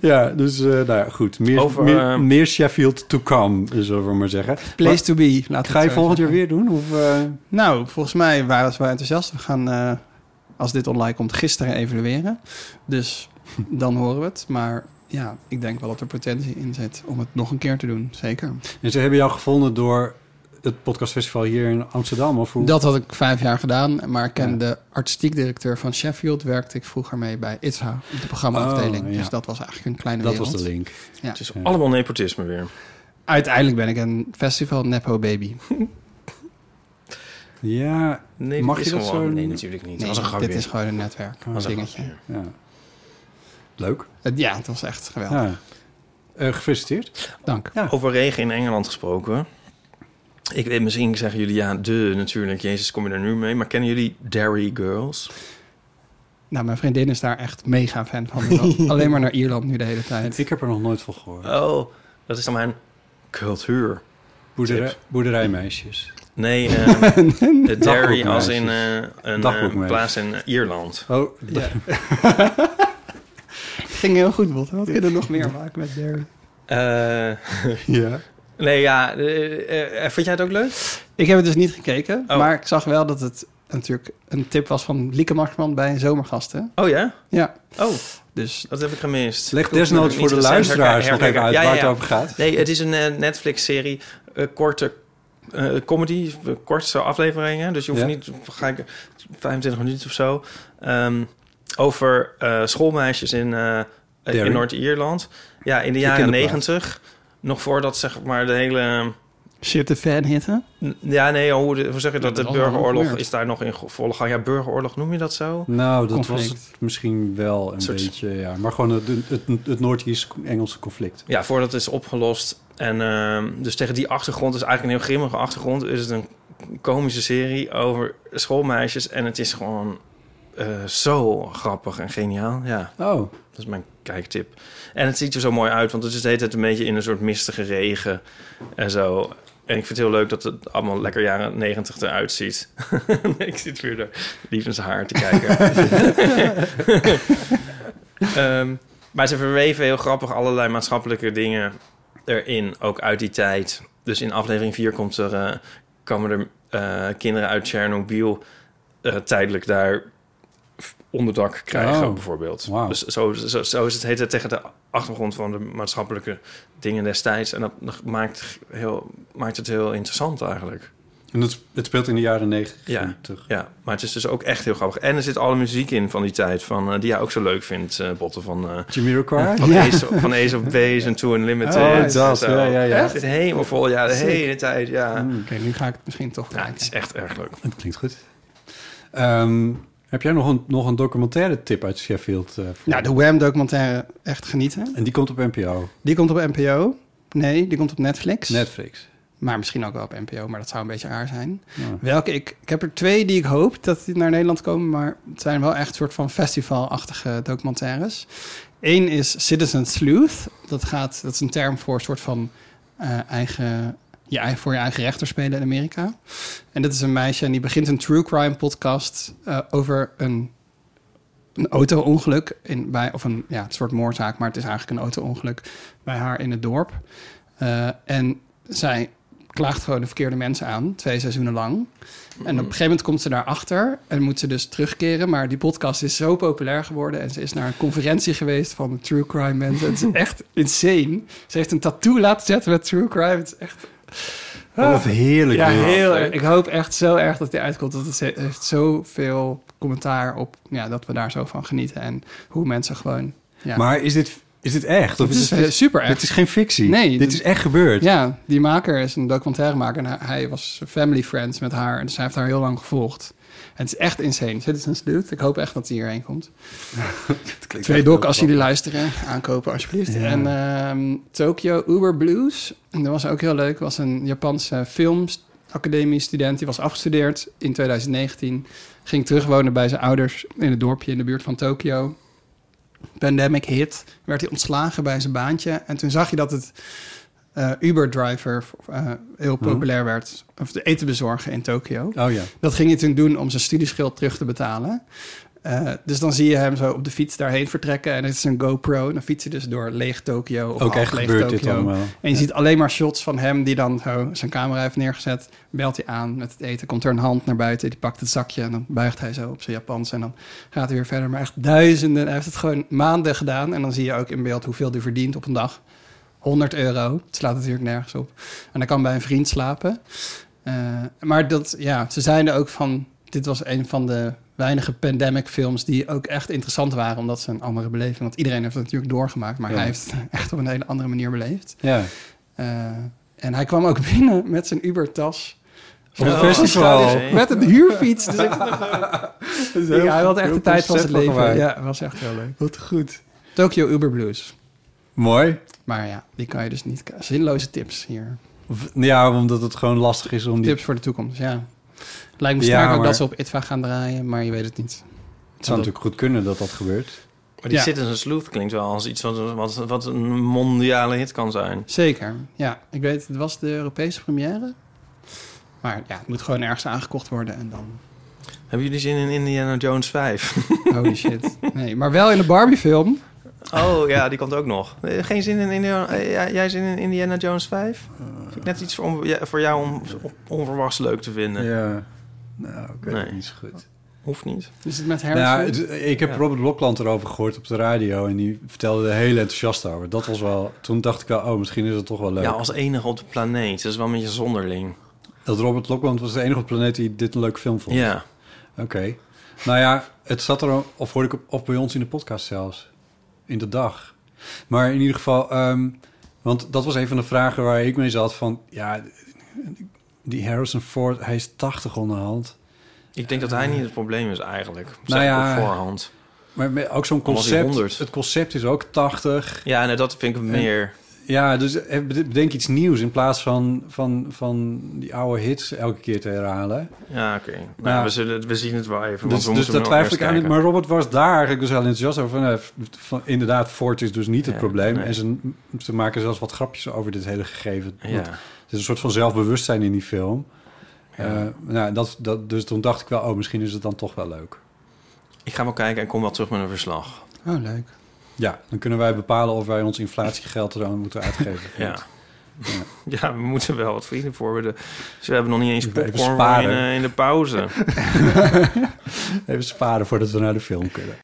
Speaker 2: Ja, dus eh, nou ja, goed. Meer,
Speaker 3: Over,
Speaker 2: meer,
Speaker 3: eh,
Speaker 2: meer Sheffield to come, zullen we maar zeggen.
Speaker 4: Place to be. Laat
Speaker 2: Maar ga je volgend jaar weer doen? Of, eh,
Speaker 4: Nou, volgens mij waren ze wel enthousiast. We gaan, eh, als dit online komt, gisteren evalueren. Dus dan horen we het. Maar ja, ik denk wel dat er potentie in zit om het nog een keer te doen. Zeker.
Speaker 2: En ze hebben jou gevonden door het podcastfestival hier in Amsterdam? Of hoe?
Speaker 4: Dat had ik vijf jaar gedaan, maar ik ken de artistiek directeur van Sheffield. Werkte ik vroeger mee bij ITVA, op de programmaafdeling.
Speaker 2: Oh, ja.
Speaker 4: Dus dat was eigenlijk een kleine
Speaker 2: dat
Speaker 4: wereld.
Speaker 2: was de link.
Speaker 4: Ja.
Speaker 3: Het is allemaal nepotisme weer.
Speaker 4: Uiteindelijk ben ik een festival Nepo Baby.
Speaker 2: Ja,
Speaker 3: Nee,
Speaker 2: Mag
Speaker 3: is
Speaker 2: je dat
Speaker 3: gewoon-
Speaker 2: zo-
Speaker 3: Nee, natuurlijk niet.
Speaker 4: Nee,
Speaker 3: dat was een grapje.
Speaker 4: dit is gewoon een netwerk.
Speaker 3: Dat was een
Speaker 4: dingetje.
Speaker 3: grapje.
Speaker 2: ja. Leuk.
Speaker 4: Het- ja, het was echt geweldig.
Speaker 2: Ja. Eh, gefeliciteerd.
Speaker 4: Dank.
Speaker 2: Ja.
Speaker 3: Over regen in Engeland gesproken. Ik weet, misschien zeggen jullie ja, de natuurlijk. Jezus, kom je er nu mee? Maar kennen jullie Derry Girls?
Speaker 4: Nou, mijn vriendin is daar echt mega fan van. Ik wil Alleen maar naar Ierland nu de hele tijd.
Speaker 2: Ik heb er nog nooit van gehoord.
Speaker 3: Oh, dat is dan mijn cultuur.
Speaker 2: Boerderij,
Speaker 3: tip.
Speaker 2: boerderijmeisjes.
Speaker 3: Nee, eh de Derry
Speaker 2: Dagboekmeisjes.
Speaker 3: als in eh, een eh,
Speaker 2: Dagboekmeisjes.
Speaker 3: plaats in eh, Ierland.
Speaker 2: Oh,
Speaker 4: Ja. Ging heel goed, Bot. Wat kunnen we nog meer maken met Derry?
Speaker 3: Eh,
Speaker 4: Ja.
Speaker 3: nee, ja. eh, eh, vond jij het ook leuk?
Speaker 4: Ik heb het dus niet gekeken,
Speaker 3: Oh.
Speaker 4: maar ik zag wel dat het natuurlijk een tip was van Lieke Marsman bij Zomergasten.
Speaker 3: Oh ja?
Speaker 4: Ja,
Speaker 3: Oh,
Speaker 4: dus
Speaker 3: dat heb ik gemist.
Speaker 2: Leg desnoods voor de
Speaker 3: Niet recent,
Speaker 2: luisteraars
Speaker 3: herken-
Speaker 2: nog even uit
Speaker 3: herken-
Speaker 2: waar
Speaker 3: ja,
Speaker 2: het
Speaker 3: ja.
Speaker 2: over gaat.
Speaker 3: Nee, het is een eh, Netflix-serie, eh, korte eh, comedy, eh, korte afleveringen. Dus je hoeft
Speaker 2: Ja.
Speaker 3: niet, ga ik 25 minuten of zo. Ehm, over eh, schoolmeisjes in, eh,
Speaker 2: Derry.
Speaker 3: in Noord-Ierland. Ja, in de
Speaker 2: De
Speaker 3: jaren
Speaker 2: kinderplaats.
Speaker 3: negentig. Nog voordat zeg maar de hele.
Speaker 4: shit de fan hitten.
Speaker 3: N- Ja, nee, hoe, de- hoe zeg je
Speaker 4: Dat
Speaker 3: dat?
Speaker 4: is
Speaker 3: De
Speaker 4: allemaal
Speaker 3: burgeroorlog
Speaker 4: gebeurd.
Speaker 3: is daar nog in go- volle gang. Ja, burgeroorlog noem je dat zo?
Speaker 2: Nou, dat
Speaker 4: Conflict.
Speaker 2: was het misschien wel een
Speaker 3: Soort-
Speaker 2: beetje, ja. Maar gewoon het, het, het Noord-Ierse-Engelse conflict.
Speaker 3: Ja, voordat het is opgelost. En ehm, dus tegen die achtergrond, is eigenlijk een heel grimmige achtergrond, is het een komische serie over schoolmeisjes. En het is gewoon eh, zo grappig en geniaal. Ja,
Speaker 2: Oh,
Speaker 3: dat is mijn kijktip. En het ziet er zo mooi uit, want het is de hele tijd een beetje in een soort mistige regen en zo. En ik vind het heel leuk dat het allemaal lekker jaren negentig eruit ziet. ik zit weer daar lief in zijn haar te kijken. Ehm, maar ze verweven heel grappig allerlei maatschappelijke dingen erin, ook uit die tijd. Dus in aflevering 4 komt er, eh, komen er eh, kinderen uit Tsjernobyl eh, tijdelijk daar f- onderdak krijgen,
Speaker 2: Oh,
Speaker 3: bijvoorbeeld.
Speaker 2: wauw.
Speaker 3: Dus zo, zo, zo is het heet het tegen de achtergrond van de maatschappelijke dingen destijds. En dat maakt, heel, maakt het heel interessant eigenlijk.
Speaker 2: en het, het speelt in de jaren negentig.
Speaker 3: Ja, maar het is dus ook echt heel grappig. En er zit alle muziek in van die tijd, van, eh, die jij ook zo leuk vindt, eh, Botten, van... eh,
Speaker 2: Jamiroquai?
Speaker 3: van, Ace, van Ace of Base en Two Unlimited.
Speaker 2: Oh,
Speaker 3: en
Speaker 2: dat,
Speaker 3: zo.
Speaker 2: ja, ja, ja. Mm.
Speaker 3: Het zit helemaal vol, ja, de hele tijd, ja.
Speaker 4: Oké, nu ga ik het misschien toch
Speaker 3: Ja,
Speaker 4: kijken.
Speaker 3: het is echt erg leuk.
Speaker 2: Dat klinkt goed. Ehm, heb jij nog een, nog een documentaire tip uit Sheffield? eh, voor-
Speaker 4: Nou, de Wham-documentaire, echt genieten.
Speaker 2: En die komt op NPO,
Speaker 4: Die komt op NPO. Nee, die komt op Netflix.
Speaker 2: Netflix.
Speaker 4: Maar misschien ook wel op NPO, maar dat zou een beetje raar zijn.
Speaker 2: Ja.
Speaker 4: Welke ik, ik heb er twee die ik hoop dat die naar Nederland komen, maar het zijn wel echt soort van festivalachtige documentaires. Eén is Citizen Sleuth. Dat, gaat, dat is een term voor een soort van eh, eigen, je, eigen- voor je eigen rechter spelen in Amerika. En dat is een meisje en die begint een true crime podcast eh, over een, een auto-ongeluk. in- bij- Of een ja, het soort moordzaak, maar het is eigenlijk een auto-ongeluk bij haar in het dorp. Eh, en zij klaagt gewoon de verkeerde mensen aan, twee seizoenen lang. En op een gegeven moment komt ze daarachter en moet ze dus terugkeren. Maar die podcast is zo populair geworden en ze is naar een conferentie geweest van true crime mensen. Het is echt insane. Ze heeft een tattoo laten zetten met true crime. Het is echt
Speaker 2: Wat heerlijk.
Speaker 4: ja,
Speaker 2: weer.
Speaker 4: heel erg. Ik hoop echt zo erg dat die uitkomt. Want het he- heeft zoveel commentaar op ja, dat we daar zo van genieten. En hoe mensen gewoon... Ja,
Speaker 2: Maar is dit, is dit echt? Of
Speaker 4: het is
Speaker 2: is
Speaker 4: eh, super
Speaker 2: Dit
Speaker 4: echt.
Speaker 2: is geen fictie.
Speaker 4: Nee,
Speaker 2: dit
Speaker 4: dit-
Speaker 2: is echt gebeurd.
Speaker 4: Ja, die maker is een documentairemaker. En hij- hij was family friends met haar. Dus hij heeft haar heel lang gevolgd. En het is echt insane. Citizen Sleuth. Ik hoop echt dat hij hierheen komt. Twee doc als jullie luisteren. Aankopen alsjeblieft. En ehm Tokyo Uber Blues. En dat was ook heel leuk. was een Japanse filmacademie student. Die was afgestudeerd in 2019. Ging terugwonen bij zijn ouders in het dorpje in de buurt van Tokyo. Pandemic hit. Werd hij ontslagen bij zijn baantje. En toen zag je dat het eh, Uber-driver eh, heel populair werd. Of de eten bezorgen in Tokyo.
Speaker 2: Mhm. Oh ja.
Speaker 4: Dat ging hij toen doen om zijn studieschild terug te betalen. Eh, Eh, dus dan zie je hem zo op de fiets daarheen vertrekken. En het is een GoPro. En dan fietsen dus door leeg Tokio. Of
Speaker 2: Ook echt
Speaker 4: half leeg
Speaker 2: gebeurt dit
Speaker 4: Tokio.
Speaker 2: allemaal.
Speaker 4: En je ziet alleen maar shots van hem die dan zo zijn camera heeft neergezet. Belt hij aan met het eten. Komt er een hand naar buiten. Die pakt het zakje. En dan buigt hij zo op zijn Japans. En dan gaat hij weer verder. Maar echt duizenden. Hij heeft het gewoon maanden gedaan. En dan zie je ook in beeld hoeveel hij verdient op een dag. 100 euro. Het slaat natuurlijk nergens op. En hij kan bij een vriend slapen. Eh, maar dat, ja, ze zeiden ook van... Dit was een van de weinige pandemic films die ook echt interessant waren... omdat ze een andere beleving... Want iedereen heeft het natuurlijk doorgemaakt... maar
Speaker 2: Ja.
Speaker 4: hij heeft het echt op een hele andere manier beleefd.
Speaker 2: Ja.
Speaker 4: Eh, en hij kwam ook binnen met zijn Uber-tas.
Speaker 2: Van
Speaker 3: Oh,
Speaker 2: het festival.
Speaker 3: oké.
Speaker 4: Met een huurfiets. Dus ik vond het zo- Ja, hij had echt de
Speaker 2: heel
Speaker 4: tijd van zijn
Speaker 2: conceptval
Speaker 4: leven.
Speaker 2: gemaakt.
Speaker 4: Ja, was echt heel leuk.
Speaker 2: Wat goed.
Speaker 4: Tokyo Uber Blues.
Speaker 2: Mooi.
Speaker 4: Maar ja, die kan je dus niet... Zinloze tips hier.
Speaker 2: V- Ja, omdat het gewoon lastig is om die...
Speaker 4: Tips voor de toekomst, ja. Lijkt me
Speaker 2: Ja,
Speaker 4: sterk ook
Speaker 2: maar-
Speaker 4: dat ze op ITVA gaan draaien, maar je weet het niet.
Speaker 2: Het zou natuurlijk goed kunnen dat dat gebeurt.
Speaker 3: Maar die
Speaker 4: Ja.
Speaker 3: Citizen Sleuth klinkt wel als iets wat, wat, wat een mondiale hit kan zijn.
Speaker 4: Zeker, ja. Ik weet, het was de Europese première. Maar ja, het moet gewoon ergens aangekocht worden en dan...
Speaker 3: Hebben jullie zin in Indiana Jones 5?
Speaker 4: Holy shit. Nee, maar wel in de Barbie-film.
Speaker 3: Oh ja, die komt ook nog. Eh, Geen zin in Indiana... eh, jij- Jij zin in Indiana Jones 5? Vind ik net iets voor, on- ja, voor jou om om- onverwachts leuk te vinden.
Speaker 2: Ja. Nou, ik weet
Speaker 3: Nee.
Speaker 2: het niet zo goed.
Speaker 3: Hoeft niet.
Speaker 4: Is het met
Speaker 2: Nou,
Speaker 4: Harrison?
Speaker 2: het- ik heb
Speaker 3: Ja.
Speaker 2: Robert Blokland erover gehoord op de radio... en die vertelde er heel enthousiast over. Dat was wel... Toen dacht ik wel, oh, misschien is het toch wel leuk.
Speaker 3: Ja, als enige op de planeet. Dat is wel een beetje zonderling.
Speaker 2: Dat Robert Blokland was de enige op de planeet die dit een leuk film vond.
Speaker 3: Ja.
Speaker 2: Oké. Nou ja, het zat er, of hoorde ik op, of bij ons in de podcast zelfs, in de dag. Maar in ieder geval, ehm, want dat was een van de vragen waar ik mee zat van, ja, die Harrison Ford, hij is 80 onderhand.
Speaker 3: Ik denk dat hij niet het probleem is eigenlijk. Zeg
Speaker 2: Nou
Speaker 3: ik
Speaker 2: ja.
Speaker 3: op voorhand.
Speaker 2: Maar met- ook zo'n
Speaker 3: Al was hij 100.
Speaker 2: concept, het concept is ook 80.
Speaker 3: Ja, nou, dat vind ik meer...
Speaker 2: Ja, dus eh, bedenk iets nieuws in plaats van, van, van die oude hits elke keer te herhalen.
Speaker 3: Ja, oké. Nou,
Speaker 2: Ja.
Speaker 3: we, zullen- we zien het wel even.
Speaker 2: Dus,
Speaker 3: want we
Speaker 2: dus
Speaker 3: moeten
Speaker 2: daar
Speaker 3: nog
Speaker 2: twijfel
Speaker 3: eerst
Speaker 2: ik aan.
Speaker 3: kijken.
Speaker 2: Maar Robert was daar eigenlijk dus heel enthousiast over. Van, eh, van, inderdaad, Ford is dus niet het
Speaker 3: Ja,
Speaker 2: probleem.
Speaker 3: nee.
Speaker 2: En ze, ze maken zelfs wat grapjes over dit hele gegeven. Want
Speaker 3: Ja.
Speaker 2: Er is een soort van zelfbewustzijn in die film.
Speaker 3: Ja.
Speaker 2: Eh, nou, dat, dat, dus toen dacht ik wel, oh, misschien is het dan toch wel leuk.
Speaker 3: Ik ga wel kijken en kom wel terug met een verslag.
Speaker 4: Oh, leuk.
Speaker 2: Ja, dan kunnen wij bepalen of wij ons inflatiegeld er aan moeten uitgeven.
Speaker 3: Ja. Ja, we moeten wel wat vrienden voor. We, de, ze hebben nog niet eens
Speaker 2: Even
Speaker 3: popcorn voor in,
Speaker 2: sparen.
Speaker 3: eh, in de pauze.
Speaker 2: Even sparen voordat we naar de film kunnen.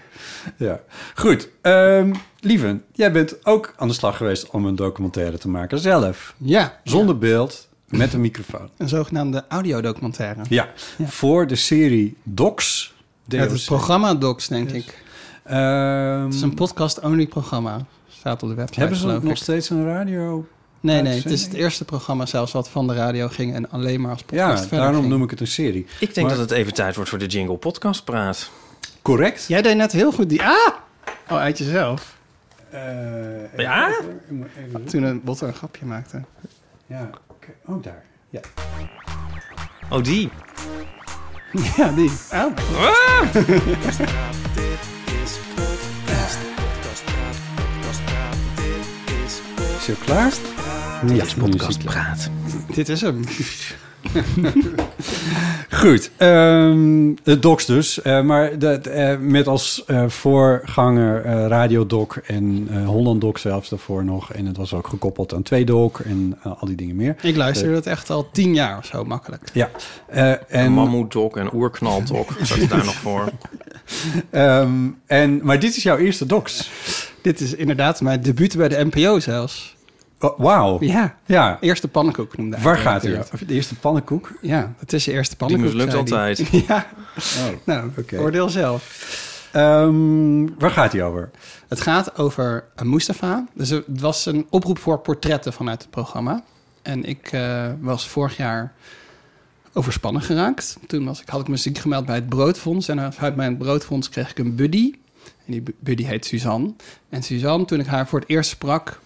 Speaker 2: Ja, goed. Ehm Lieven, jij bent ook aan de slag geweest om een documentaire te maken zelf.
Speaker 4: Ja,
Speaker 2: Zonder beeld, met een microfoon.
Speaker 4: een zogenaamde audiodocumentaire.
Speaker 2: Ja, voor de serie Docs.
Speaker 4: Met het
Speaker 2: DOC.
Speaker 4: programma Docs, denk ik.
Speaker 2: Ehm,
Speaker 4: Het is een podcast-only programma. Staat op de website,
Speaker 2: hebben ze
Speaker 4: geloof
Speaker 2: nog
Speaker 4: ik.
Speaker 2: steeds een radio?
Speaker 4: Nee, nee,
Speaker 2: uitzending?
Speaker 4: het is het eerste programma zelfs wat van de radio ging... en alleen maar als podcast
Speaker 2: Ja,
Speaker 4: verder
Speaker 2: daarom
Speaker 4: ging.
Speaker 2: noem ik het een serie.
Speaker 3: Ik denk
Speaker 2: Maar-
Speaker 3: dat het even tijd wordt voor de Jingle Podcast Praat.
Speaker 2: Correct?
Speaker 4: Jij deed net heel goed die... Ah! Oh, uit jezelf.
Speaker 2: Eh,
Speaker 3: Ja?
Speaker 2: even- ik moet even zoeken.
Speaker 4: Toen een botter een grapje maakte.
Speaker 2: Ja, oké. Oh, daar. Ja.
Speaker 3: Oh, die.
Speaker 4: Ja, die. Oh.
Speaker 2: Is je klaar? Ja, podcast
Speaker 3: Praat.
Speaker 4: Dit is hem.
Speaker 2: Goed, ehm, de docs dus. eh, maar dat, eh, met als eh, voorganger eh, Radio Doc en eh, Holland Doc zelfs daarvoor nog. En het was ook gekoppeld aan Twee Doc en eh, al die dingen meer.
Speaker 4: Ik luister dat echt al tien jaar of zo makkelijk.
Speaker 2: Ja, eh, en,
Speaker 3: Mammoetok en Oerknaldok. Zat je daar nog voor?
Speaker 2: ehm, en, maar dit is jouw eerste docs.
Speaker 4: Dit is inderdaad mijn debuut bij de NPO zelfs.
Speaker 2: Wa- Oh, Wauw.
Speaker 4: Ja.
Speaker 2: Ja.
Speaker 4: Eerste pannenkoek noemde hij
Speaker 2: Waar
Speaker 4: het
Speaker 2: gaat hij?
Speaker 4: natuurlijk.
Speaker 2: over? De eerste pannenkoek?
Speaker 4: Ja, het is je eerste
Speaker 3: Die
Speaker 4: pannenkoek.
Speaker 3: mislukt
Speaker 4: zei hij.
Speaker 3: altijd.
Speaker 4: Ja, nou,
Speaker 2: Oké.
Speaker 4: oordeel zelf.
Speaker 2: Ehm, waar gaat hij over?
Speaker 4: Het gaat over eh, Mustafa. Dus het was een oproep voor portretten vanuit het programma. En ik eh, was vorig jaar overspannen geraakt. Toen was ik, had ik me ziek gemeld bij het Broodfonds. En uit mijn Broodfonds kreeg ik een buddy. En die bu- buddy heet Suzanne. En Suzanne, toen ik haar voor het eerst sprak...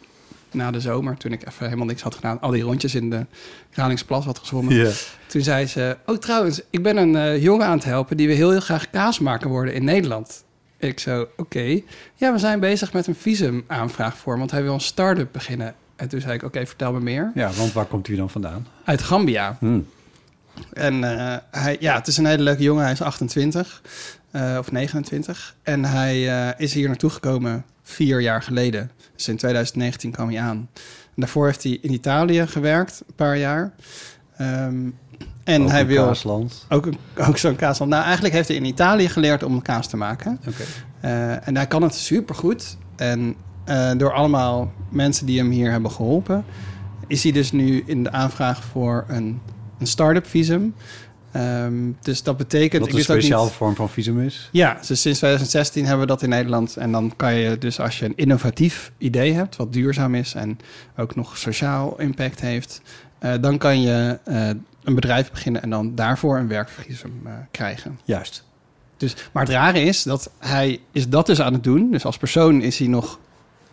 Speaker 4: na de zomer, toen ik even helemaal niks had gedaan... al die rondjes in de Kralingsplas had gezwommen... Toen zei ze, oh trouwens, ik ben een eh, jongen aan het helpen... die we heel, heel graag kaas maken worden in Nederland. Ik zo, oké. Ja, we zijn bezig met een visumaanvraag voor... hem, want hij wil een start-up beginnen. En toen zei ik, oké, vertel me meer.
Speaker 2: Ja, want waar komt hij dan vandaan?
Speaker 4: Uit Gambia.
Speaker 2: Hm.
Speaker 4: En eh, hij, ja, het is een hele leuke jongen. Hij is 28 eh, of 29. En hij eh, is hier naartoe gekomen vier jaar geleden. Dus in 2019 kwam hij aan. En daarvoor heeft hij in Italië gewerkt, een paar jaar. Ehm, en
Speaker 2: Ook
Speaker 4: hij
Speaker 2: een
Speaker 4: wil
Speaker 2: Kaasland.
Speaker 4: ook, een- ook zo'n kaas. Nou, eigenlijk heeft hij in Italië geleerd om kaas te maken.
Speaker 2: Oké.
Speaker 4: Eh, en hij kan het supergoed. En eh, door allemaal mensen die hem hier hebben geholpen, is hij dus nu in de aanvraag voor een, een start-up visum. Ehm, dus dat betekent.
Speaker 2: Wat
Speaker 4: ik
Speaker 2: een
Speaker 4: weet ook niet-
Speaker 2: speciale vorm van visum is.
Speaker 4: ja, dus sinds 2016 hebben we dat in Nederland. En dan kan je dus als je een innovatief idee hebt, wat duurzaam is en ook nog sociaal impact heeft, eh, dan kan je eh, een bedrijf beginnen en dan daarvoor een werkvisum eh, krijgen.
Speaker 2: Juist.
Speaker 4: Dus, maar het rare is dat hij is dat dus aan het doen. Dus als persoon is hij nog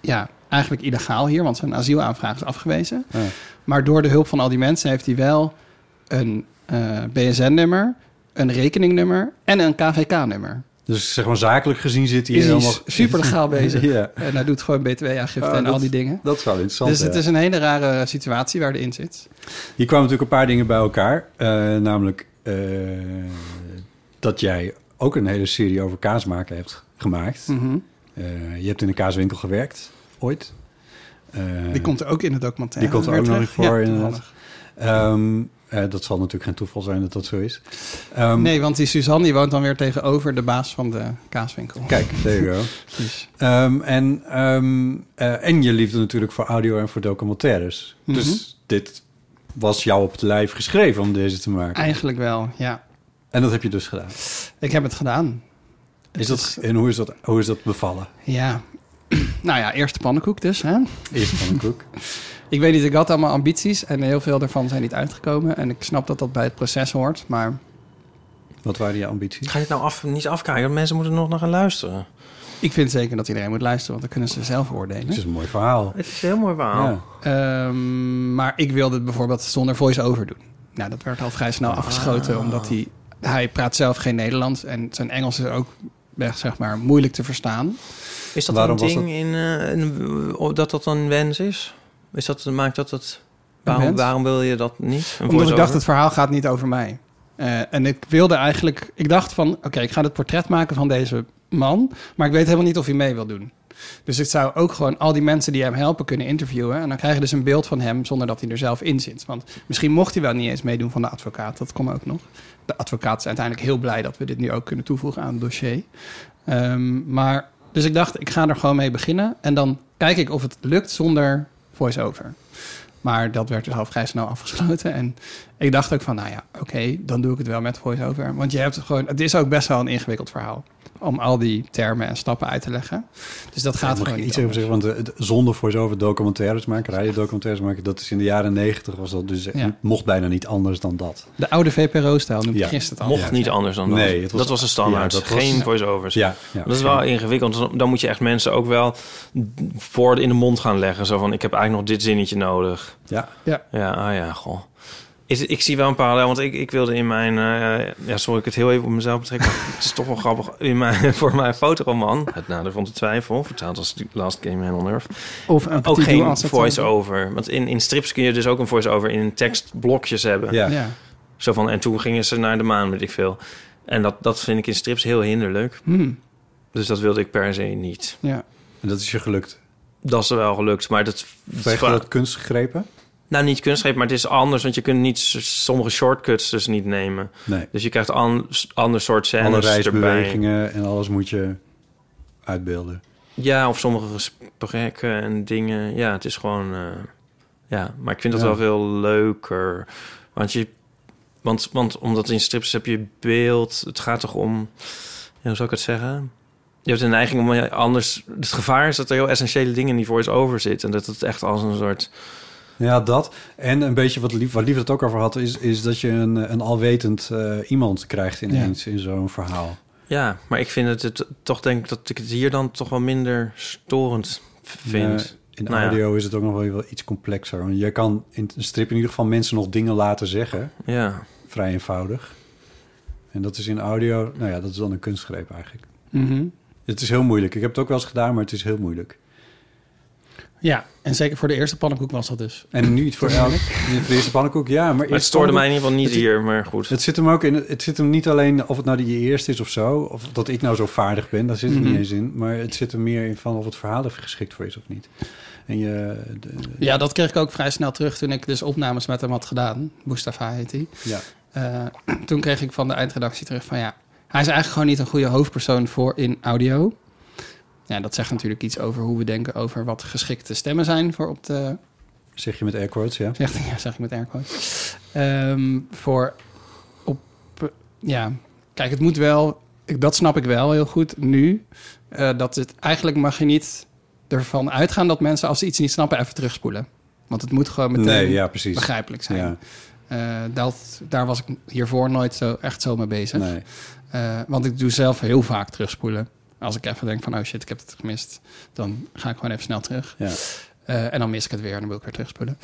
Speaker 4: ja, eigenlijk illegaal hier, want zijn asielaanvraag is afgewezen.
Speaker 2: Ja.
Speaker 4: Maar door de hulp van al die mensen heeft hij wel een eh, BSN-nummer, een rekeningnummer en een KVK-nummer.
Speaker 2: Dus zeg maar zakelijk gezien zit hij
Speaker 4: Is
Speaker 2: hier
Speaker 4: hij
Speaker 2: helemaal...
Speaker 4: super legaal bezig.
Speaker 2: Ja.
Speaker 4: En hij doet gewoon btw-aangifte
Speaker 2: Ah,
Speaker 4: en
Speaker 2: dat-
Speaker 4: al die dingen.
Speaker 2: Dat zou interessant
Speaker 4: Dus
Speaker 2: zijn.
Speaker 4: het is een hele rare situatie waar hij in zit.
Speaker 2: Hier kwamen natuurlijk een paar dingen bij elkaar. Eh, namelijk eh, dat jij ook een hele serie over kaas maken hebt gemaakt.
Speaker 4: Mhm.
Speaker 2: Eh, je hebt in een kaaswinkel gewerkt, ooit. Eh,
Speaker 4: Die komt er ook in de documentaire.
Speaker 2: die komt er ook
Speaker 4: weer
Speaker 2: nog
Speaker 4: terug.
Speaker 2: voor,
Speaker 4: Ja,
Speaker 2: inderdaad.
Speaker 4: toevallig.
Speaker 2: ehm, eh, dat zal natuurlijk geen toeval zijn dat dat zo is. Ehm,
Speaker 4: Nee, want die Suzanne die woont dan weer tegenover de baas van de kaaswinkel.
Speaker 2: Kijk, there you go.
Speaker 4: Dus,
Speaker 2: Ehm, en, ehm, eh, en je liefde natuurlijk voor audio en voor documentaires.
Speaker 4: Mhm.
Speaker 2: Dus dit was jou op het lijf geschreven om deze te maken.
Speaker 4: eigenlijk wel, ja.
Speaker 2: En dat heb je dus gedaan.
Speaker 4: Ik heb het gedaan.
Speaker 2: Is dat, en hoe is dat, hoe is dat bevallen?
Speaker 4: Ja. Nou ja, eerst de pannenkoek dus. Hè?
Speaker 2: Eerst van een koek.
Speaker 4: Ik weet niet, ik had allemaal ambities en heel veel daarvan zijn niet uitgekomen. En ik snap dat dat bij het proces hoort, maar
Speaker 2: Wat waren je ambities?
Speaker 3: Ga je het nou af, niet afkijken? Want mensen moeten er nog naar gaan luisteren.
Speaker 4: ik vind zeker dat iedereen moet luisteren, want dan kunnen ze zelf
Speaker 2: Het
Speaker 4: oordelen.
Speaker 2: is een mooi verhaal.
Speaker 3: Het is heel mooi verhaal.
Speaker 2: Ja.
Speaker 4: Ehm, maar ik wilde het bijvoorbeeld zonder voice-over doen. Nou, dat werd al vrij snel afgeschoten, omdat hij, hij praat zelf geen Nederlands en zijn Engels is ook echt, zeg maar, moeilijk te verstaan.
Speaker 3: Is dat
Speaker 2: Waarom
Speaker 3: een
Speaker 2: was
Speaker 3: ding in, eh, in- dat dat een wens is? is dat, maakt dat het... Waarom,
Speaker 4: wens?
Speaker 3: waarom wil je dat niet? Een
Speaker 4: Omdat ik dacht,
Speaker 3: voice-over?
Speaker 4: het verhaal gaat niet over mij. Eh, en ik wilde eigenlijk... Ik dacht van, oké, ik ga het portret maken van deze man... maar ik weet helemaal niet of hij mee wil doen. Dus ik zou ook gewoon al die mensen die hem helpen kunnen interviewen... en dan krijg je dus een beeld van hem zonder dat hij er zelf in zit. Want misschien mocht hij wel niet eens meedoen van de advocaat. Dat kon ook nog. De advocaat is uiteindelijk heel blij dat we dit nu ook kunnen toevoegen aan het dossier. Ehm, maar, dus ik dacht, ik ga er gewoon mee beginnen... en dan kijk ik of het lukt zonder voice-over. Maar dat werd dus al vrij snel afgesloten. En ik dacht ook van, nou ja, oké, dan doe ik het wel met voice-over. Want je hebt gewoon, het is ook best wel een ingewikkeld verhaal. Om al die termen en stappen uit te leggen. Dus dat
Speaker 2: Daar
Speaker 4: gaat
Speaker 2: mag
Speaker 4: gewoon
Speaker 2: ik
Speaker 4: niet
Speaker 2: iets over zeggen, want eh, het- zonder voor zover documentaires maken, radiodocumentaires maken, dat is in de jaren negentig was dat dus, eh,
Speaker 4: Ja.
Speaker 2: mocht bijna niet anders dan dat.
Speaker 4: De oude VPRO-stijl noemde
Speaker 2: Ja,
Speaker 4: ik gisteren het al.
Speaker 3: Mocht niet anders dan
Speaker 2: Nee,
Speaker 3: dat.
Speaker 2: het was-
Speaker 3: dat was een standaard.
Speaker 2: ja, dat was-
Speaker 3: Geen voice-overs.
Speaker 2: Ja, ja.
Speaker 3: Dus dat is wel ingewikkeld. want Dan moet je echt mensen ook wel voor in de mond gaan leggen. Zo van, ik heb eigenlijk nog dit zinnetje nodig.
Speaker 2: Ja,
Speaker 4: Ja,
Speaker 3: Ja, ah ja, goh. Is, het- ik zie wel een parallel, want ik, ik wilde in mijn... eh, ja, sorry, ik het heel even op mezelf betrek. maar het is toch wel grappig. In mijn, voor mijn fotoroman, Het Nader van de Twijfel... vertaald als The Last Game Man on Earth...
Speaker 4: of een
Speaker 3: ook
Speaker 4: petit doel
Speaker 3: geen
Speaker 4: als het-
Speaker 3: voice-over. Want in, in strips kun je dus ook een voice-over in tekstblokjes hebben.
Speaker 2: ja.
Speaker 4: Ja.
Speaker 3: Zo van, en toen gingen ze naar de maan, weet ik veel. En dat, dat vind ik in strips heel hinderlijk.
Speaker 4: Hmm,
Speaker 3: Dus dat wilde ik per se niet.
Speaker 4: ja.
Speaker 2: en dat is je gelukt.
Speaker 3: Dat is wel gelukt, maar dat...
Speaker 2: Kreeg je dat kunstgrepen?
Speaker 3: Nou, niet kunstgreep, maar het is anders. Want je kunt niet s- sommige shortcuts dus niet nemen.
Speaker 2: Nee.
Speaker 3: Dus je krijgt an, s- ander soort
Speaker 2: Alle
Speaker 3: scènes erbij.
Speaker 2: reisbewegingen en alles moet je uitbeelden.
Speaker 3: Ja, of sommige gesprekken en dingen. Ja, het is gewoon... eh, ja, maar ik vind dat
Speaker 2: Ja.
Speaker 3: wel veel leuker. Want, je, want, want omdat in strips heb je beeld... Het gaat toch om... Ja, hoe zou ik het zeggen? Je hebt een neiging om je anders... Het gevaar is dat er heel essentiële dingen niet voor iets over zitten. En dat het echt als een soort...
Speaker 2: Ja, dat. En een beetje wat Lief, wat Lief het ook over had, is, is dat je een, een alwetend eh, iemand krijgt ineens in zo'n verhaal.
Speaker 3: Ja, maar ik vind het, het toch denk ik dat ik het hier dan toch wel minder storend v- vind.
Speaker 2: Eh, in
Speaker 3: Nou ja.
Speaker 2: audio is het ook nog wel, wel iets complexer. Want je kan in een strip in ieder geval mensen nog dingen laten zeggen.
Speaker 3: Ja.
Speaker 2: Vrij eenvoudig. En dat is in audio, nou ja, dat is dan een kunstgreep eigenlijk.
Speaker 4: Mhm.
Speaker 2: Het is heel moeilijk. Ik heb het ook wel eens gedaan, maar het is heel moeilijk.
Speaker 5: Ja, en zeker voor de eerste pannenkoek was dat dus.
Speaker 2: En niet voor elk. Voor de eerste pannenkoek, ja. Maar,
Speaker 3: Maar het
Speaker 2: eerst
Speaker 3: stoorde mij
Speaker 2: pannenkoek-
Speaker 3: in ieder geval niet
Speaker 2: het-
Speaker 3: hier, maar goed.
Speaker 2: Het zit hem ook in. Het zit hem niet alleen of het nou die eerste is of zo. Of dat ik nou zo vaardig ben. Daar zit het
Speaker 3: Mhm.
Speaker 2: niet eens in. Maar het zit er meer in van of het verhaal er geschikt voor is of niet. En je. de-
Speaker 5: Ja.
Speaker 4: Ja, dat kreeg ik ook vrij snel terug toen ik dus opnames met hem had gedaan. Mustafa heet hij.
Speaker 2: ja.
Speaker 4: Eh, toen kreeg ik van de eindredactie terug van ja, hij is eigenlijk gewoon niet een goede hoofdpersoon voor in audio. Ja, dat zegt natuurlijk iets over hoe we denken over wat geschikte stemmen zijn voor op de
Speaker 2: Zeg je met air quotes, ja.
Speaker 4: Zeg, ja, zeg ik met aircoat. Ehm voor op eh, ja, kijk, het moet wel. Ik, dat snap ik wel heel goed nu. eh, dat het eigenlijk mag je niet ervan uitgaan dat mensen als ze iets niet snappen even terugspoelen, want het moet gewoon meteen
Speaker 2: Nee, ja, precies.
Speaker 4: begrijpelijk zijn.
Speaker 2: Ja,
Speaker 4: Eh, dat, daar was ik hiervoor nooit zo echt zo mee bezig.
Speaker 2: nee.
Speaker 4: Eh, want ik doe zelf heel vaak terugspoelen. Als ik even denk van, oh shit, ik heb het gemist. Dan ga ik gewoon even snel terug.
Speaker 2: Ja.
Speaker 4: Eh, en dan mis ik het weer en dan wil ik weer terugspoelen.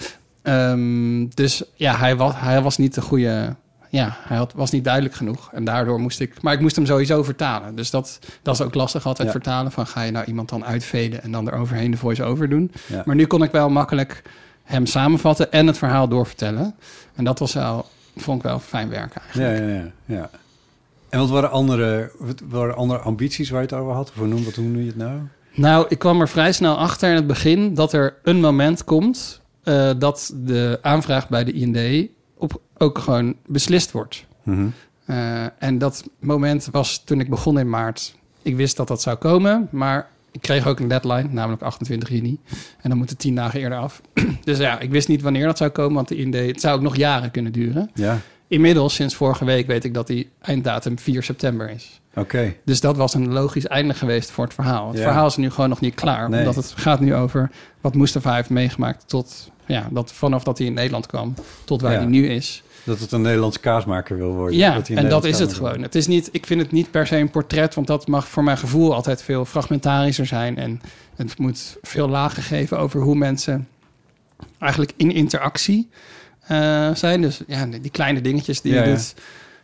Speaker 4: Ehm, dus ja, hij was, hij was niet de goede... Ja, hij had, was niet duidelijk genoeg. En daardoor moest ik... Maar ik moest hem sowieso vertalen. Dus dat, dat is ook lastig altijd
Speaker 2: Ja.
Speaker 4: vertalen. Van ga je nou iemand dan uitveden en dan eroverheen de voice-over doen.
Speaker 2: Ja.
Speaker 4: Maar nu kon ik wel makkelijk hem samenvatten en het verhaal doorvertellen. En dat was wel, vond ik wel fijn werk eigenlijk.
Speaker 2: Ja, ja, ja, ja. En wat waren andere, wat waren andere ambities waar je het over had? Of hoe noem, wat, hoe noem je het nou?
Speaker 4: Nou, ik kwam er vrij snel achter in het begin dat er een moment komt eh, dat de aanvraag bij de IND op, ook gewoon beslist wordt. Eh, en dat moment was toen ik begon in maart. Ik wist dat dat zou komen, maar ik kreeg ook een deadline, namelijk 28 juni. En dan moeten tien dagen eerder af. dus ja, ik wist niet wanneer dat zou komen, want de IND, het zou ook nog jaren kunnen duren.
Speaker 2: Ja,
Speaker 4: Inmiddels, sinds vorige week, weet ik dat die einddatum 4 september is.
Speaker 2: oké.
Speaker 4: Dus dat was een logisch einde geweest voor het verhaal. Het
Speaker 2: Ja.
Speaker 4: verhaal is nu gewoon nog niet klaar.
Speaker 2: Nee.
Speaker 4: Omdat het gaat nu over wat Mustafa heeft meegemaakt tot... Ja, dat vanaf dat hij in Nederland kwam tot waar
Speaker 2: Ja.
Speaker 4: hij nu is.
Speaker 2: Dat het een Nederlands kaasmaker wil worden.
Speaker 4: Ja,
Speaker 2: hij een
Speaker 4: en dat
Speaker 2: Nederlands
Speaker 4: is het
Speaker 2: kaasmaker
Speaker 4: gewoon. Het is niet, ik vind het niet per se een portret, want dat mag voor mijn gevoel altijd veel fragmentarischer zijn. En het moet veel lager geven over hoe mensen eigenlijk in interactie eh, zijn. Dus ja, die kleine dingetjes die
Speaker 2: Ja,
Speaker 4: je
Speaker 2: ja.
Speaker 4: doet,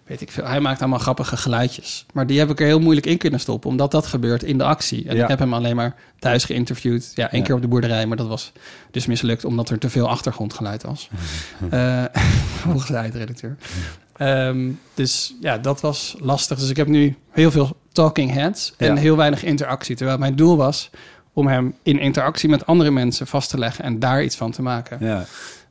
Speaker 4: weet ik veel. Hij maakt allemaal grappige geluidjes. Maar die heb ik er heel moeilijk in kunnen stoppen, omdat dat gebeurt in de actie. En
Speaker 2: Ja.
Speaker 4: ik heb hem alleen maar thuis geïnterviewd. Ja, één
Speaker 2: Ja.
Speaker 4: keer op de boerderij, maar dat was dus mislukt omdat er te veel achtergrondgeluid was. Eh, Volgens de eindredacteur. Ehm, dus ja, dat was lastig. Dus ik heb nu heel veel talking heads en
Speaker 2: Ja.
Speaker 4: heel weinig interactie. Terwijl mijn doel was om hem in interactie met andere mensen vast te leggen en daar iets van te maken.
Speaker 2: Ja,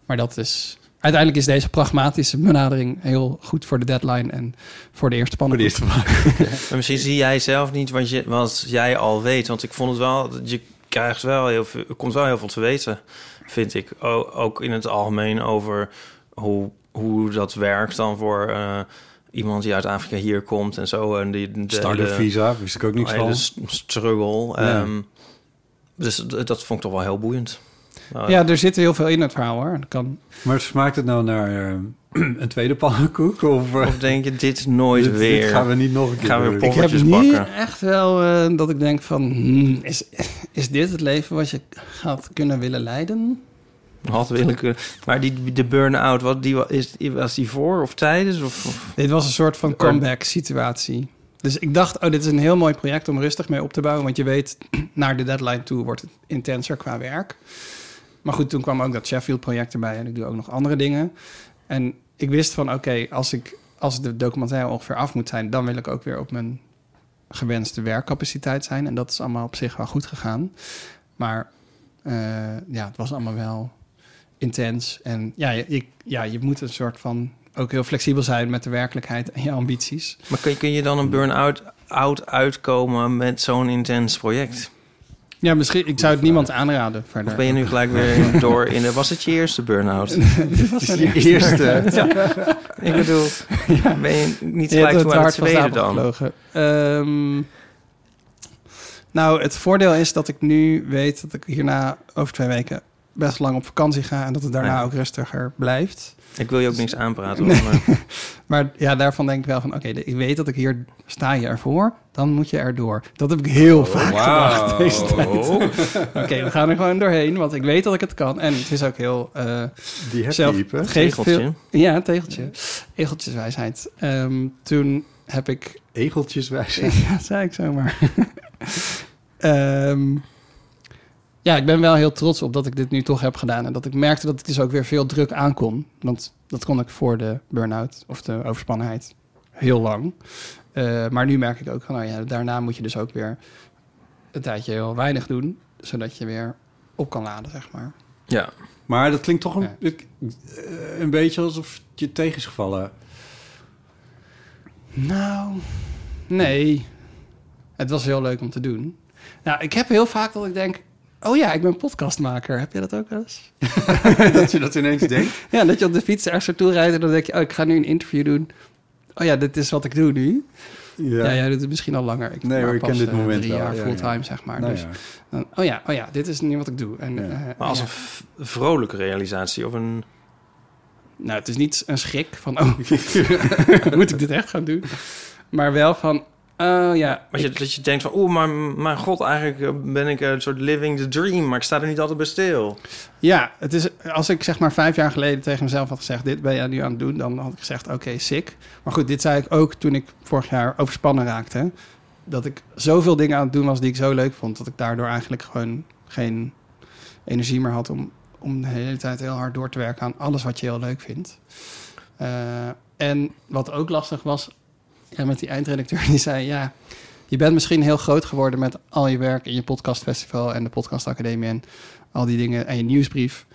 Speaker 4: Maar dat is. Uiteindelijk is deze pragmatische benadering heel goed voor de deadline en voor de eerste
Speaker 2: voor
Speaker 4: pannenkoek.
Speaker 2: de eerste maand.
Speaker 3: Maar misschien zie jij zelf niet wat, je, wat jij al weet. Want ik vond het wel, je krijgt wel heel veel, er komt wel heel veel te weten, vind ik. O- ook in het algemeen over hoe, hoe dat werkt dan voor eh, iemand die uit Afrika hier komt en zo. En die, de, Oh, dus-
Speaker 2: Starter
Speaker 3: hele-
Speaker 2: visa, wist ik ook niks
Speaker 3: hele
Speaker 2: van.
Speaker 3: s- struggle.
Speaker 2: Ja.
Speaker 3: ehm, dus d- dat vond ik toch wel heel boeiend. Nou,
Speaker 4: Ja, er zit heel veel in het verhaal hoor. Dat kan.
Speaker 2: Maar smaakt het nou naar eh, een tweede pannenkoek? Of, eh,
Speaker 3: Of denk je, dit nooit
Speaker 2: dit- dit
Speaker 3: weer?
Speaker 2: gaan we niet nog een keer
Speaker 3: Gaan we
Speaker 2: doen.
Speaker 3: weer
Speaker 4: Ik heb
Speaker 3: Poffertjes
Speaker 4: nu
Speaker 3: bakken.
Speaker 4: echt wel eh, dat ik denk van, hmm, is, is dit het leven wat je gaat kunnen willen leiden?
Speaker 3: Had willen kunnen. Maar die, de burn-out, wat, die, wa- is, was die voor of tijdens? Of, of-
Speaker 4: Dit was een soort van comeback situatie. Dus ik dacht, oh, dit is een heel mooi project om rustig mee op te bouwen. Want je weet, naar de deadline toe wordt het intenser qua werk. Maar goed, toen kwam ook dat Sheffield-project erbij. En ik doe ook nog andere dingen. En ik wist van, oké, als ik als de documentaire ongeveer af moet zijn... dan wil ik ook weer op mijn gewenste werkcapaciteit zijn. En dat is allemaal op zich wel goed gegaan. Maar eh, ja, het was allemaal wel intens. En ja je, je- ja, je moet een soort van ook heel flexibel zijn met de werkelijkheid en je ambities.
Speaker 3: Maar kun, kun je dan een burn-out out uitkomen met zo'n intens project?
Speaker 4: Ja, misschien. Ik zou het niemand aanraden verder.
Speaker 3: Of ben je nu gelijk weer in- door in de... Was het je eerste burn-out?
Speaker 2: De eerste.
Speaker 3: Ik bedoel, ben je niet
Speaker 4: Je hebt
Speaker 3: gelijk toe aan de
Speaker 4: hart van
Speaker 3: tweede dan?
Speaker 4: stapel gevlogen. Ehm, nou, het voordeel is dat ik nu weet dat ik hierna over twee weken best lang op vakantie ga en dat het daarna
Speaker 3: Ja.
Speaker 4: ook rustiger blijft.
Speaker 3: Ik wil je ook niks aanpraten. hoor, maar-
Speaker 4: Maar ja, daarvan denk ik wel van, oké, de- ik weet dat ik hier sta je ervoor, dan moet je erdoor. Dat heb ik heel
Speaker 3: Oh,
Speaker 4: vaak gedacht deze tijd. Oké, we gaan er gewoon doorheen, want ik weet dat ik het kan. En het is ook heel... eh,
Speaker 2: Die heb
Speaker 4: zelf
Speaker 2: je, Iep, hè?
Speaker 4: geeft
Speaker 3: Tegeltje.
Speaker 4: Veel, ja, tegeltje. Egeltjeswijsheid. Ehm, toen heb ik...
Speaker 2: Egeltjeswijs.
Speaker 4: ja, zei ik zomaar. Ehm, Ja, ik ben wel heel trots op dat ik dit nu toch heb gedaan. En dat ik merkte dat het dus ook weer veel druk aankon. Want dat kon ik voor de burn-out of de overspannenheid heel lang. Eh, maar nu merk ik ook, van, nou ja, daarna moet je dus ook weer een tijdje heel weinig doen. Zodat je weer op kan laden, zeg maar.
Speaker 3: Ja.
Speaker 2: Maar dat klinkt toch een,
Speaker 4: Ja.
Speaker 2: ik- eh, een beetje alsof het je tegen is gevallen.
Speaker 4: Nou, nee. Het was heel leuk om te doen. Nou, ik heb heel vaak dat ik denk... Oh ja, ik ben podcastmaker. Heb je dat ook wel eens?
Speaker 2: dat je dat ineens denkt.
Speaker 4: Ja, dat je op de fiets ergens naartoe rijdt en dan denk je... Oh, ik ga nu een interview doen. Oh ja, dit is wat ik doe nu. Ja, jij doet het misschien al langer. Ik,
Speaker 2: Nee,
Speaker 4: maar
Speaker 2: hoor, ik
Speaker 4: pas,
Speaker 2: ken dit
Speaker 4: eh,
Speaker 2: moment
Speaker 4: drie
Speaker 2: wel.
Speaker 4: jaar
Speaker 2: Ja,
Speaker 4: fulltime,
Speaker 2: ja.
Speaker 4: zeg maar.
Speaker 2: Nou
Speaker 4: dus
Speaker 2: ja.
Speaker 4: dan, oh ja, oh ja, dit is nu wat ik doe. En,
Speaker 2: Ja.
Speaker 4: eh,
Speaker 3: Maar als
Speaker 4: ja.
Speaker 3: een v- vrolijke realisatie of een...
Speaker 4: Nou, het is niet een schrik van... Oh, moet ik dit echt gaan doen? Maar wel van... Oh ja,
Speaker 3: Als je, dat je denkt van, oeh, maar mijn god, eigenlijk eh, ben ik een soort living the dream, maar ik sta er niet altijd bij stil.
Speaker 4: Ja, het is, als ik zeg maar vijf jaar geleden tegen mezelf had gezegd... dit ben jij nu aan het doen, dan had ik gezegd oké, sick. Maar goed, dit zei ik ook toen ik vorig jaar overspannen raakte. Dat ik zoveel dingen aan het doen was die ik zo leuk vond... dat ik daardoor eigenlijk gewoon geen energie meer had... om, om de hele tijd heel hard door te werken aan alles wat je heel leuk vindt. Eh, en wat ook lastig was ja, met die eindredacteur, die zei... ja, je bent misschien heel groot geworden met al je werk... in je podcastfestival en de podcastacademie... en al die dingen en je nieuwsbrief.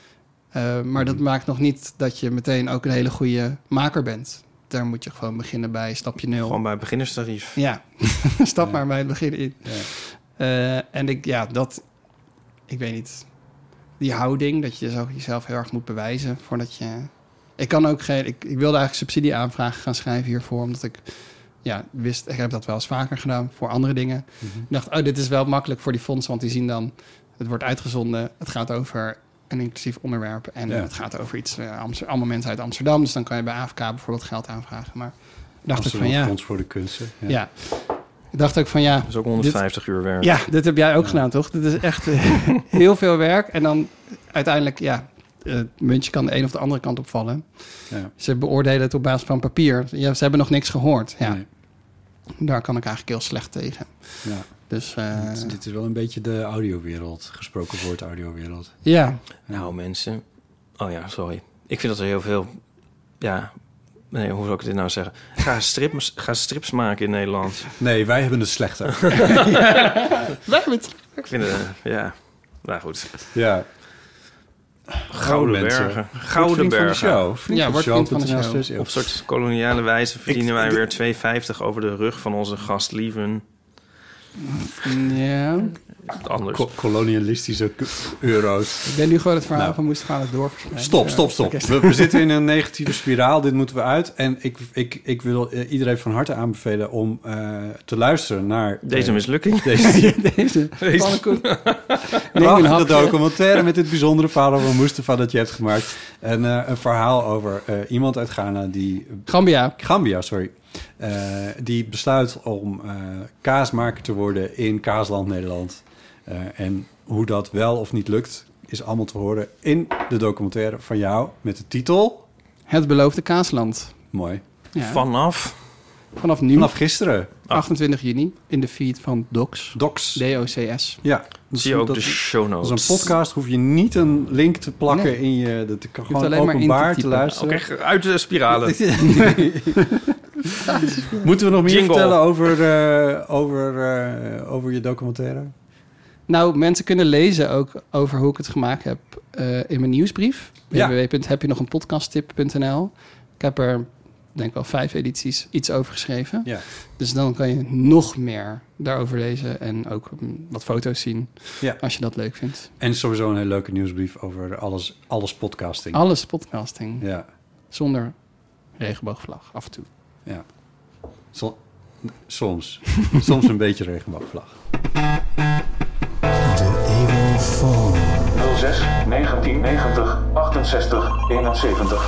Speaker 4: Eh, maar dat maakt nog niet dat je meteen ook een hele goede maker bent. Daar moet je gewoon beginnen bij stapje nul.
Speaker 3: Gewoon bij beginnerstarief.
Speaker 4: Ja, stap maar bij het begin in.
Speaker 2: Ja.
Speaker 4: Eh, en ik, ja, dat, ik weet niet, die houding, dat je dus ook jezelf heel erg moet bewijzen voordat je. Ik kan ook geen, ik, ik wilde eigenlijk subsidieaanvragen gaan schrijven hiervoor, omdat ik, ja, wist, ik heb dat wel eens vaker gedaan voor andere dingen.
Speaker 2: Mhm.
Speaker 4: Ik dacht, oh, dit is wel makkelijk voor die fondsen, want die zien dan, het wordt uitgezonden, het gaat over een inclusief onderwerp en
Speaker 2: Ja.
Speaker 4: het gaat over iets, eh, Amster- allemaal mensen uit Amsterdam, dus dan kan je bij AFK bijvoorbeeld geld aanvragen. Maar dacht ik
Speaker 2: Amsterdam
Speaker 4: van ja.
Speaker 2: Fonds voor de Kunsten.
Speaker 4: Ja. Ik dacht ook van ja.
Speaker 3: Dat is ook 150 uur werk.
Speaker 4: Ja, dit heb jij ook gedaan, toch? Dit is echt eh, heel veel werk. En dan uiteindelijk, ja, eh, het muntje kan de een of de andere kant opvallen.
Speaker 2: Ja.
Speaker 4: Ze beoordelen het op basis van papier. Ja, ze hebben nog niks gehoord. Ja,
Speaker 2: Nee.
Speaker 4: Daar kan ik eigenlijk heel slecht tegen.
Speaker 2: Ja.
Speaker 4: Dus eh,
Speaker 2: Dit, dit is wel een beetje de audiowereld, gesproken woord audiowereld.
Speaker 4: ja,
Speaker 3: Nou, mensen. Oh ja, sorry. Ik vind dat er heel veel. Ja. Nee, hoe zou ik dit nou zeggen? Ga, strips, ga strips maken in Nederland.
Speaker 2: Nee, wij hebben het slechter.
Speaker 3: Ik vind het. eh, ja. Nou goed.
Speaker 2: ja.
Speaker 3: Gouden
Speaker 2: mensen.
Speaker 3: bergen. Gouden
Speaker 2: Vriend van de
Speaker 3: bergen.
Speaker 2: show. Vriend
Speaker 4: Ja,
Speaker 2: van de
Speaker 4: word
Speaker 2: show.
Speaker 4: vriend van de
Speaker 2: NL
Speaker 4: show.
Speaker 2: slash eeuw.
Speaker 3: Op een soort koloniale wijze verdienen wij weer 2,50 over de rug van onze gastlieven.
Speaker 4: ja.
Speaker 3: Anders.
Speaker 2: Ko- kolonialistische k- euro's.
Speaker 4: Ik ben nu gewoon het verhaal
Speaker 2: Nou.
Speaker 4: van Moest gaan het doorverspreiden.
Speaker 2: Stop, stop, stop. We, we zitten in een negatieve spiraal. Dit moeten we uit. En ik, ik, ik wil eh, iedereen van harte aanbevelen om eh, te luisteren naar...
Speaker 3: Deze mislukking.
Speaker 2: Deze
Speaker 4: Deze pannenkoek. Neem een
Speaker 2: prachtige
Speaker 4: hapje.
Speaker 2: documentaire met dit bijzondere verhaal van Mustafa dat je hebt gemaakt. En eh, een verhaal over eh, iemand uit Ghana die eh,
Speaker 4: Gambia.
Speaker 2: Gambia, sorry. Eh, die besluit om eh, kaasmaker te worden in Kaasland Nederland. Eh, en hoe dat wel of niet lukt, is allemaal te horen in de documentaire van jou met de titel.
Speaker 4: Het beloofde kaasland.
Speaker 2: Mooi.
Speaker 4: Ja.
Speaker 3: Vanaf.
Speaker 4: Vanaf nu,
Speaker 2: Vanaf gisteren.
Speaker 4: 28 juni, in de feed van Docs.
Speaker 2: Docs.
Speaker 4: D-O-C-S.
Speaker 2: ja. Dus
Speaker 3: Zie je ook
Speaker 2: dat-
Speaker 3: de show notes.
Speaker 2: Dat is een podcast. Hoef je niet een link te plakken
Speaker 4: Nee.
Speaker 2: in je. Dat kan
Speaker 4: hoeft
Speaker 2: gewoon
Speaker 4: alleen maar in te
Speaker 2: openbaar te,
Speaker 4: typen.
Speaker 2: luisteren.
Speaker 3: Ook echt uit de spiralen.
Speaker 2: Moeten we nog meer
Speaker 3: Jingle.
Speaker 2: vertellen over, eh, over, eh, over je documentaire?
Speaker 4: Nou, mensen kunnen lezen ook over hoe ik het gemaakt heb eh, in mijn nieuwsbrief.
Speaker 2: Ja.
Speaker 4: www.hebjenogenpodcasttip.nl Ik heb er, denk ik wel vijf edities iets over geschreven.
Speaker 2: Ja.
Speaker 4: Dus dan kan je nog meer daarover lezen en ook mm, wat foto's zien
Speaker 2: ja.
Speaker 4: als je dat leuk vindt.
Speaker 2: En sowieso een hele leuke nieuwsbrief over alles, alles podcasting.
Speaker 4: Alles podcasting,
Speaker 2: Ja,
Speaker 4: zonder regenboogvlag af en toe.
Speaker 2: ja. Zo- soms. soms een beetje regenboogvlag.
Speaker 6: 06 1990 68 71.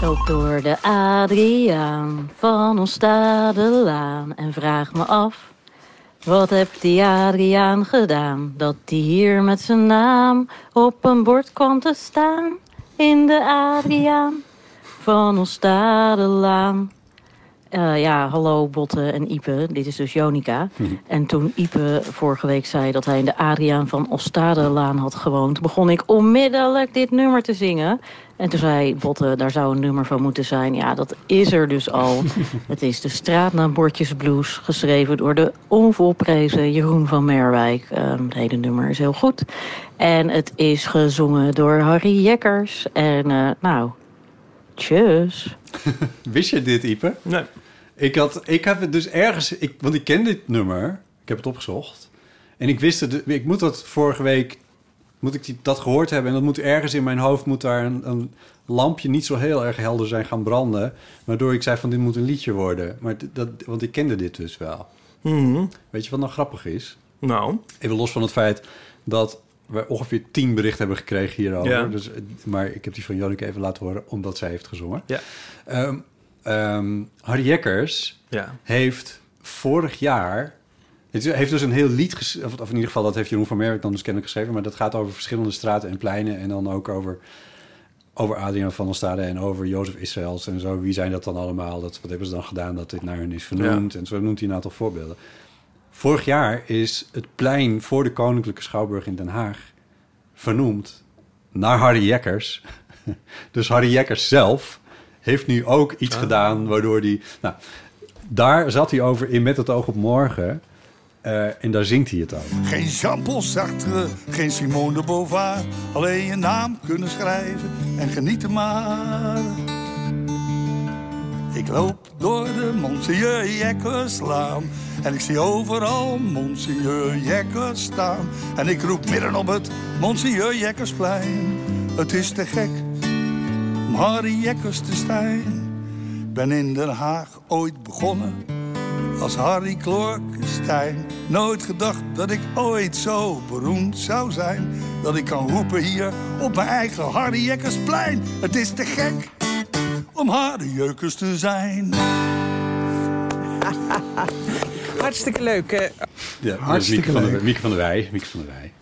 Speaker 7: Loop door de Adriaan van Oostadelaan en vraag me af. Wat heeft die Adriaan gedaan? Dat die hier met zijn naam op een bord kwam te staan. In de Adriaan van Oostadelaan. eh, ja, hallo Botte en Ipe, dit is dus Jonica. En toen Ipe vorige week zei dat hij in de Adriaan van Ostadelaan had gewoond... begon ik onmiddellijk dit nummer te zingen. En toen zei Botte, daar zou een nummer van moeten zijn. Ja, dat is er dus al. Het is de Straatnaambordjes Blues, geschreven door de onvolprezen Jeroen van Merwijk. Ehm, het hele nummer is heel goed. En het is gezongen door Harry Jekkers. En eh, nou, tjus.
Speaker 2: Wist je dit, Ipe?
Speaker 3: Nee.
Speaker 2: Ik, had, ik heb het dus ergens... Ik, want ik ken dit nummer. Ik heb het opgezocht. En ik wist het... Ik moet dat vorige week... Moet ik die, dat gehoord hebben. En dat moet ergens in mijn hoofd... Moet daar een, een lampje niet zo heel erg helder zijn gaan branden. Waardoor ik zei van dit moet een liedje worden. Maar d- dat, want ik kende dit dus wel.
Speaker 3: Mhm.
Speaker 2: Weet je wat nou grappig is?
Speaker 3: Nou.
Speaker 2: Even los van het feit dat we ongeveer tien berichten hebben gekregen hierover.
Speaker 3: Ja.
Speaker 2: Dus, eh, maar ik heb die van Janneke even laten horen, omdat zij heeft gezongen.
Speaker 3: Ja.
Speaker 2: Ehm, ehm, Harry Jekkers
Speaker 3: Ja.
Speaker 2: heeft vorig jaar... Het is- heeft dus een heel lied, ges- of, of in ieder geval dat heeft Jeroen van Merwijk dan dus kennelijk geschreven... maar dat gaat over verschillende straten en pleinen en dan ook over... Over Adriaan van der Stade en over Jozef Israëls en zo. Wie zijn dat dan allemaal? Dat, wat hebben ze dan gedaan dat dit naar hun is vernoemd? En zo noemt hij een aantal voorbeelden. Vorig jaar is het plein voor de Koninklijke Schouwburg in Den Haag vernoemd naar Harry Jekkers. Dus Harry Jekkers zelf heeft nu ook iets
Speaker 8: Ah.
Speaker 2: gedaan waardoor hij... Nou, daar zat hij over in Met het oog op morgen. eh, en daar zingt hij het over.
Speaker 9: Geen Jean-Paul Sartre, geen Simone de Beauvoir. Alleen je naam kunnen schrijven en genieten maar. Ik loop door de Monseigneur Jekkerslaan. En ik zie overal Monseigneur Jekkers staan. En ik roep midden op het Monseigneur Jekkersplein. Het is te gek om Harry Jekkers te zijn. Ik ben in Den Haag ooit begonnen als Harry Klorkenstein. Nooit gedacht dat ik ooit zo beroemd zou zijn. Dat ik kan roepen hier op mijn eigen Harry Jekkersplein. Het is te gek om Harry Jekkers te zijn.
Speaker 8: Hartstikke leuk. eh.
Speaker 2: Ja, dat is
Speaker 8: Hartstikke
Speaker 2: Mieke van der-
Speaker 8: leuk.
Speaker 2: Mieke van der Wij. Mieke van der Wij.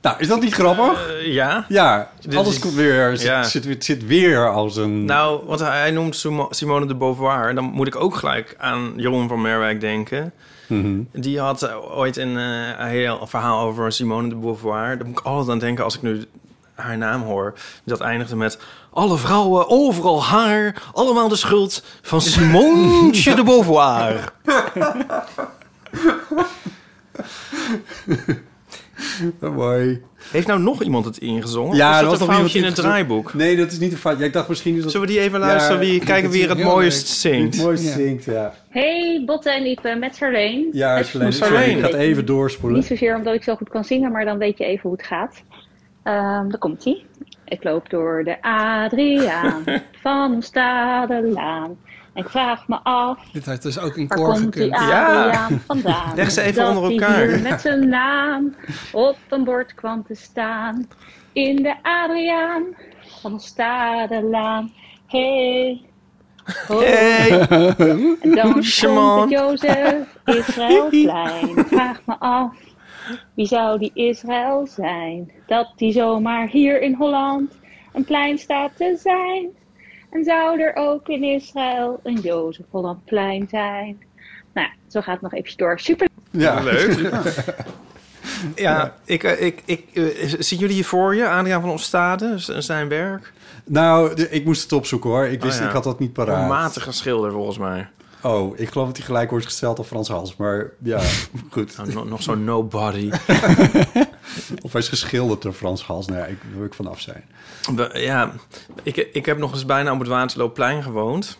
Speaker 2: Nou, is dat niet grappig?
Speaker 3: Eh, ja.
Speaker 2: Ja,
Speaker 3: Dit
Speaker 2: alles
Speaker 3: is-
Speaker 2: komt weer.
Speaker 3: ja.
Speaker 2: Zit, zit, zit weer als een...
Speaker 3: Nou, want hij noemt Simo- Simone de Beauvoir. En dan moet ik ook gelijk aan Jeroen van Merwijk denken.
Speaker 2: Mhm.
Speaker 3: Die had eh, ooit een eh, heel verhaal over Simone de Beauvoir. Daar moet ik altijd aan denken als ik nu haar naam hoor. Dat eindigde met... Alle vrouwen, overal haar, allemaal de schuld van Simone de Beauvoir.
Speaker 2: Mooi.
Speaker 3: Heeft nou nog iemand het ingezongen?
Speaker 2: Oh, Ja,
Speaker 3: Ja,
Speaker 2: dat
Speaker 3: dat was
Speaker 2: was
Speaker 3: een
Speaker 2: nog
Speaker 3: foutje in
Speaker 2: iemand
Speaker 3: het
Speaker 2: ingezongen?
Speaker 3: draaiboek.
Speaker 2: Nee, dat is niet een fout. Ja, ik dacht misschien... Is dat...
Speaker 3: Zullen we die even luisteren? Wie- kijken wie er het mooist zingt.
Speaker 2: Het mooist zingt, ja.
Speaker 10: Hey, Botte en Ipe, met Charlene.
Speaker 2: Ja, Charlene,
Speaker 3: Charlene.
Speaker 2: sorry, ik ga het even doorspoelen.
Speaker 10: Niet zozeer omdat ik zo goed kan zingen, maar dan weet je even hoe het gaat. Ehm daar komt ie. Ik loop door de Adriaan van Stadelaan. En ik vraag me af,
Speaker 4: Dit had dus ook in
Speaker 10: waar
Speaker 4: koor
Speaker 10: komt die
Speaker 4: gekund.
Speaker 10: Adriaan vandaan?
Speaker 4: Leg ze even
Speaker 10: Dat
Speaker 4: onder
Speaker 10: die
Speaker 4: elkaar.
Speaker 10: hier met zijn naam op een bord kwam te staan. In de Adriaan van Stadelaan. Hey, ho. En dan komt
Speaker 8: Simone.
Speaker 10: het Jozef Israëlplein. Ik Vraag me af, wie zou die Israël zijn? Dat die zomaar hier in Holland een plein staat te zijn. En zou er ook in Israël een Jozef Hollandplein zijn? Nou, ja, zo gaat het nog eventjes door. Super.
Speaker 2: Ja.
Speaker 3: Leuk. Ja, ik, eh, ik, ik, eh, zien jullie hier voor je? Adriaan van Ostade, z- zijn werk.
Speaker 2: Nou, de- ik moest het opzoeken hoor. Ik wist,
Speaker 3: Oh ja.
Speaker 2: ik had dat niet paraat.
Speaker 3: Een matige schilder volgens mij.
Speaker 2: Oh, ik geloof dat hij gelijk wordt gesteld op Frans Hals. Maar ja, goed.
Speaker 3: Nou, nog zo'n nobody.
Speaker 2: of hij is geschilderd door Frans Hals. Nou ja, ik daar wil ik vanaf zijn.
Speaker 3: We- Ja, ik, ik heb nog eens bijna op het Waterloopplein gewoond.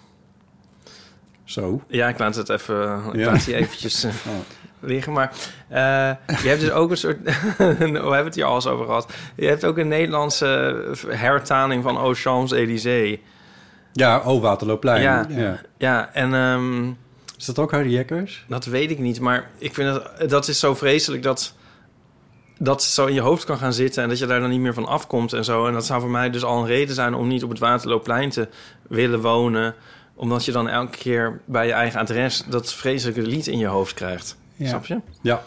Speaker 2: Zo.
Speaker 3: Ja, ik laat het even, ik
Speaker 2: Ja. Oh.
Speaker 3: laat die eventjes eh, liggen. Maar eh, je hebt dus ook een soort, we hebben het hier al eens over gehad. Je hebt ook een Nederlandse eh, hertaling van Aux Champs-Élysées.
Speaker 2: Ja, oh, Waterloopplein.
Speaker 3: Ja,
Speaker 2: Ja.
Speaker 3: ja. en... ehm,
Speaker 2: Is dat ook Harry Jekkers?
Speaker 3: Dat weet ik niet, maar ik vind dat, dat is zo vreselijk dat dat zo in je hoofd kan gaan zitten en dat je daar dan niet meer van afkomt en zo. En dat zou voor mij dus al een reden zijn om niet op het Waterloopplein te willen wonen, omdat je dan elke keer bij je eigen adres dat vreselijke lied in je hoofd krijgt.
Speaker 2: Ja.
Speaker 3: Snap je?
Speaker 2: Ja.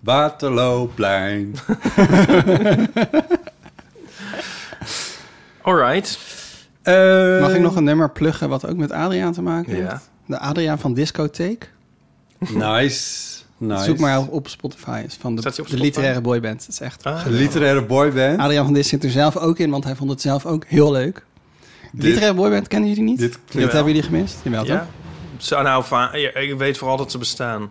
Speaker 2: Waterloopplein.
Speaker 3: All right.
Speaker 2: Eh,
Speaker 4: Mag
Speaker 8: eh,
Speaker 4: ik nog een nummer pluggen wat ook met Adriaan te maken heeft?
Speaker 2: Ja.
Speaker 4: De Adriaan van Discotheek.
Speaker 2: Nice. nice.
Speaker 4: Zoek maar op Spotify. Is van de,
Speaker 2: Staat die op
Speaker 4: de
Speaker 2: Spotify?
Speaker 4: literaire boyband. Dat is echt
Speaker 2: Ah.
Speaker 4: geweldig.
Speaker 2: Literaire boyband.
Speaker 4: Adriaan van Dis zit er zelf ook in, want hij vond het zelf ook heel leuk. Literaire boyband kennen jullie niet? dat
Speaker 3: Jawel.
Speaker 4: hebben jullie gemist? Jawel,
Speaker 3: ja.
Speaker 4: toch?
Speaker 3: Zo, nou, va- ja, ik weet vooral dat ze bestaan.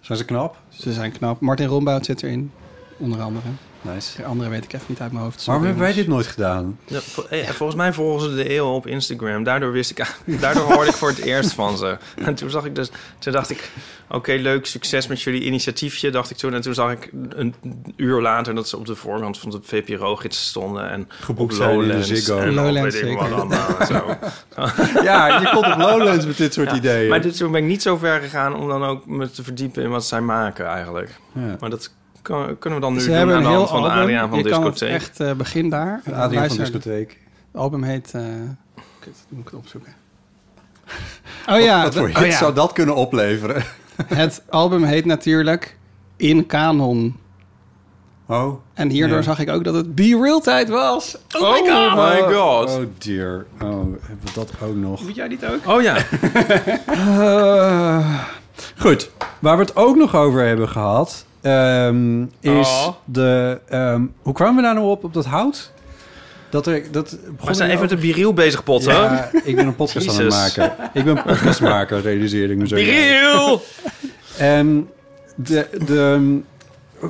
Speaker 2: Zijn ze knap?
Speaker 4: Ze zijn knap. Martin Rombout zit erin, onder andere.
Speaker 2: Nice.
Speaker 4: De andere weet ik even niet uit mijn hoofd.
Speaker 2: Waarom
Speaker 4: Sorry,
Speaker 2: hebben wij dit nooit
Speaker 4: jongens.
Speaker 2: gedaan?
Speaker 3: Ja, vo- eh, Volgens mij volgen ze de eeuw op Instagram. Daardoor, wist ik, daardoor hoorde ik voor het eerst van ze. En toen, zag ik dus, toen dacht ik, oké, leuk, succes met jullie initiatiefje, dacht ik toen. En toen zag ik een uur later dat ze op de voorkant van de VPRO-gids stonden. En
Speaker 2: Geboekt
Speaker 3: op
Speaker 2: zijn in de
Speaker 3: Lowlands
Speaker 2: Ziggo.
Speaker 3: En op
Speaker 2: Lowlands,
Speaker 3: weet ik
Speaker 2: zeker.
Speaker 3: wat allemaal en zo.
Speaker 2: Ja, je komt op Lowlands met dit soort ideeën.
Speaker 3: Maar dit, toen ben ik niet zo ver gegaan om dan ook me te verdiepen in wat zij maken eigenlijk.
Speaker 2: Ja.
Speaker 3: Maar dat kan- kunnen we dan nu
Speaker 4: Ze
Speaker 3: doen aan
Speaker 4: hebben
Speaker 3: de
Speaker 4: een
Speaker 3: hand
Speaker 4: heel
Speaker 3: van de
Speaker 4: album.
Speaker 3: Adriaan van
Speaker 4: Je kan het
Speaker 3: Discotheek.
Speaker 4: echt eh, begin daar.
Speaker 2: Adriaan van
Speaker 4: Luister.
Speaker 2: Discotheek.
Speaker 4: Het album heet... eh, kut, moet ik het opzoeken. Oh ja.
Speaker 2: Wat voor
Speaker 4: dat-
Speaker 2: hit
Speaker 4: oh ja.
Speaker 2: zou dat kunnen opleveren?
Speaker 4: Het album heet natuurlijk In Canon.
Speaker 2: Oh.
Speaker 4: En hierdoor
Speaker 2: Ja.
Speaker 4: zag ik ook dat het Be Real tijd was. Oh, my god.
Speaker 2: my god. Oh dear. Oh, hebben we dat ook nog?
Speaker 4: Moet jij dit ook?
Speaker 3: Oh ja.
Speaker 2: Eh, goed. Waar we het ook nog over hebben gehad... ehm, is
Speaker 3: Oh.
Speaker 2: de... ehm, hoe kwamen we daar nou op, op dat hout? Dat er... Dat begon
Speaker 3: We zijn
Speaker 2: hier
Speaker 3: even met
Speaker 2: over-
Speaker 3: de biriel bezig, Potter.
Speaker 2: Ja, ik ben een podcast aan het
Speaker 3: Jezus.
Speaker 2: maken. Ik ben een podcastmaker, realiseer ik me zo.
Speaker 3: Biriel!
Speaker 2: En de... de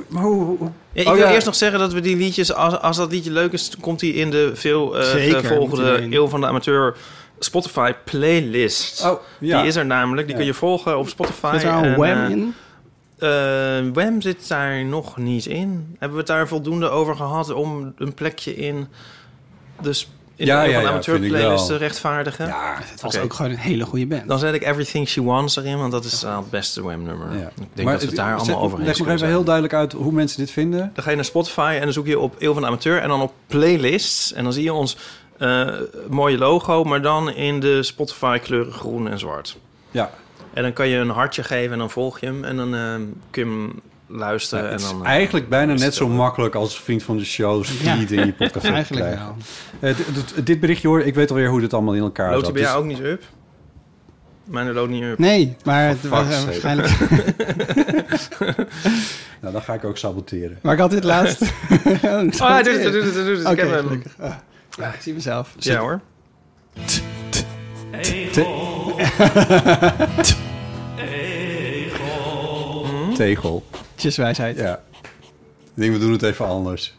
Speaker 2: maar hoe, hoe-
Speaker 3: Ja, ik
Speaker 2: Oh
Speaker 3: wil
Speaker 2: ja.
Speaker 3: eerst nog zeggen dat we die liedjes, als, als dat liedje leuk is, komt die in de veel eh,
Speaker 2: Zeker, moet
Speaker 3: volgende
Speaker 2: die erin.
Speaker 3: Eeuw van de Amateur Spotify playlist.
Speaker 2: Oh, ja.
Speaker 3: Die is er namelijk, die kun je volgen op Spotify.
Speaker 4: Zit er al
Speaker 3: en,
Speaker 4: Wham
Speaker 3: eh,
Speaker 4: in?
Speaker 3: eh, Wham zit daar nog niet in. Hebben we het daar voldoende over gehad om een plekje in de, sp- in
Speaker 2: Ja,
Speaker 3: de
Speaker 2: ja,
Speaker 3: Eeuw van de
Speaker 2: ja,
Speaker 3: Amateur
Speaker 2: vind ik
Speaker 3: playlist te
Speaker 2: wel.
Speaker 3: rechtvaardigen?
Speaker 2: Ja,
Speaker 4: Het was ook gewoon een hele goede band.
Speaker 3: Dan zet ik Everything She Wants erin, want dat is eh, het beste Wham-nummer. Ik denk dat we het daar allemaal over eens
Speaker 2: Leg nog
Speaker 3: kunnen
Speaker 2: even heel duidelijk uit hoe mensen dit vinden.
Speaker 3: Dan ga je naar Spotify en dan zoek je op Eeuw van de Amateur en dan op playlists. En dan zie je ons eh, mooie logo, maar dan in de Spotify kleuren groen en zwart.
Speaker 2: Ja.
Speaker 3: En dan kan je een hartje geven en dan volg je hem en dan eh, kun je hem luisteren.
Speaker 2: het
Speaker 3: en
Speaker 2: is
Speaker 3: dan, eh,
Speaker 2: eigenlijk bijna net zo
Speaker 3: bestellen.
Speaker 2: makkelijk als vriend van de show
Speaker 3: Ja.
Speaker 2: feed in je podcast te
Speaker 3: Eigenlijk
Speaker 2: krijgen. Eh, dit- dit- dit berichtje hoor, ik weet alweer hoe dit allemaal in elkaar
Speaker 3: Loopt
Speaker 2: zat.
Speaker 3: hij bij jou
Speaker 2: Dus-
Speaker 3: ook niet up? Mijn loopt niet up.
Speaker 4: Nee, maar het
Speaker 3: For
Speaker 4: was eh,
Speaker 3: fuck's
Speaker 4: waarschijnlijk-
Speaker 3: sake.
Speaker 2: nou, dan ga ik ook saboteren.
Speaker 4: Maar ik had dit laatst... Oh
Speaker 3: doet
Speaker 2: Oh,
Speaker 3: het, doet het, doet het, doet het. Ik
Speaker 4: Oké,
Speaker 3: heb hem.
Speaker 4: gelukkig. Ah, ja, ik zie mezelf.
Speaker 3: Ja hoor. Hm?
Speaker 2: Tegel.
Speaker 4: Tjeswijsheid.
Speaker 2: Ja. Ik denk, we doen het even anders.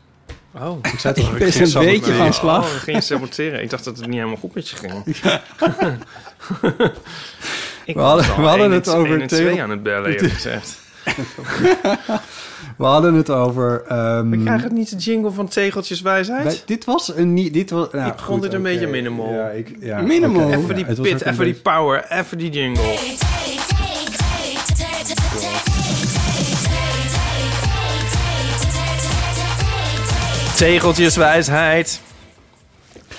Speaker 3: Oh,
Speaker 2: Ik zei toch,
Speaker 3: Ik
Speaker 2: ik
Speaker 3: ben
Speaker 2: ging
Speaker 3: een
Speaker 2: saboteren.
Speaker 3: beetje van slag.
Speaker 2: Oh,
Speaker 3: ik
Speaker 2: ik
Speaker 3: ging saboteren. Ik dacht dat het niet helemaal goed met je ging.
Speaker 2: We hadden- we hadden het over
Speaker 3: en twee
Speaker 2: Theo.
Speaker 3: aan het bellen, eerlijk gezegd.
Speaker 2: We hadden het over... ehm,
Speaker 3: Ik krijg het niet de jingle van Tegeltjes Wijsheid.
Speaker 2: wij- dit was een niet... Dit was, nou,
Speaker 3: ik vond dit een
Speaker 2: oké.
Speaker 3: beetje minimal.
Speaker 2: Ja, ik, ja,
Speaker 3: minimal.
Speaker 2: oké.
Speaker 3: Even
Speaker 2: Ja,
Speaker 3: die
Speaker 2: het was
Speaker 3: pit,
Speaker 2: ook een
Speaker 3: even die power, even die jingle. Tegeltjes Wijsheid.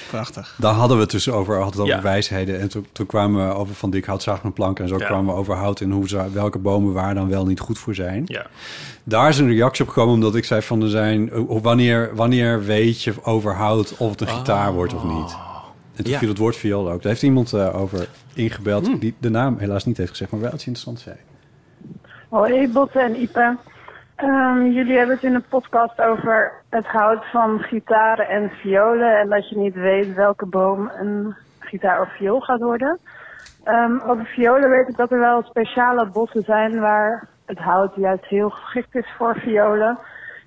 Speaker 4: Prachtig.
Speaker 2: Daar hadden we het dus over, hadden we het over
Speaker 3: Ja.
Speaker 2: wijsheden. En toen, toen kwamen we over van dik hout, zacht en plank. En zo
Speaker 3: Ja.
Speaker 2: kwamen we over hout en hoe ze, welke bomen waar dan wel niet goed voor zijn.
Speaker 3: Ja.
Speaker 2: Daar is een reactie op gekomen omdat ik zei van er zijn... eh, Wanneer, wanneer weet je over hout of het een gitaar wordt of niet? En toen
Speaker 3: Ja.
Speaker 2: viel het woord viool ook. Daar heeft iemand eh, over ingebeld
Speaker 4: Hmm.
Speaker 2: die de naam helaas niet heeft gezegd. Maar wel iets interessants zei.
Speaker 11: Hoi, Botte en Ipe. Ehm, jullie hebben het in een podcast over het hout van gitaren en violen. En dat je niet weet welke boom een gitaar of viool gaat worden. Ehm, over violen weet ik dat er wel speciale bossen zijn waar het hout juist heel geschikt is voor violen.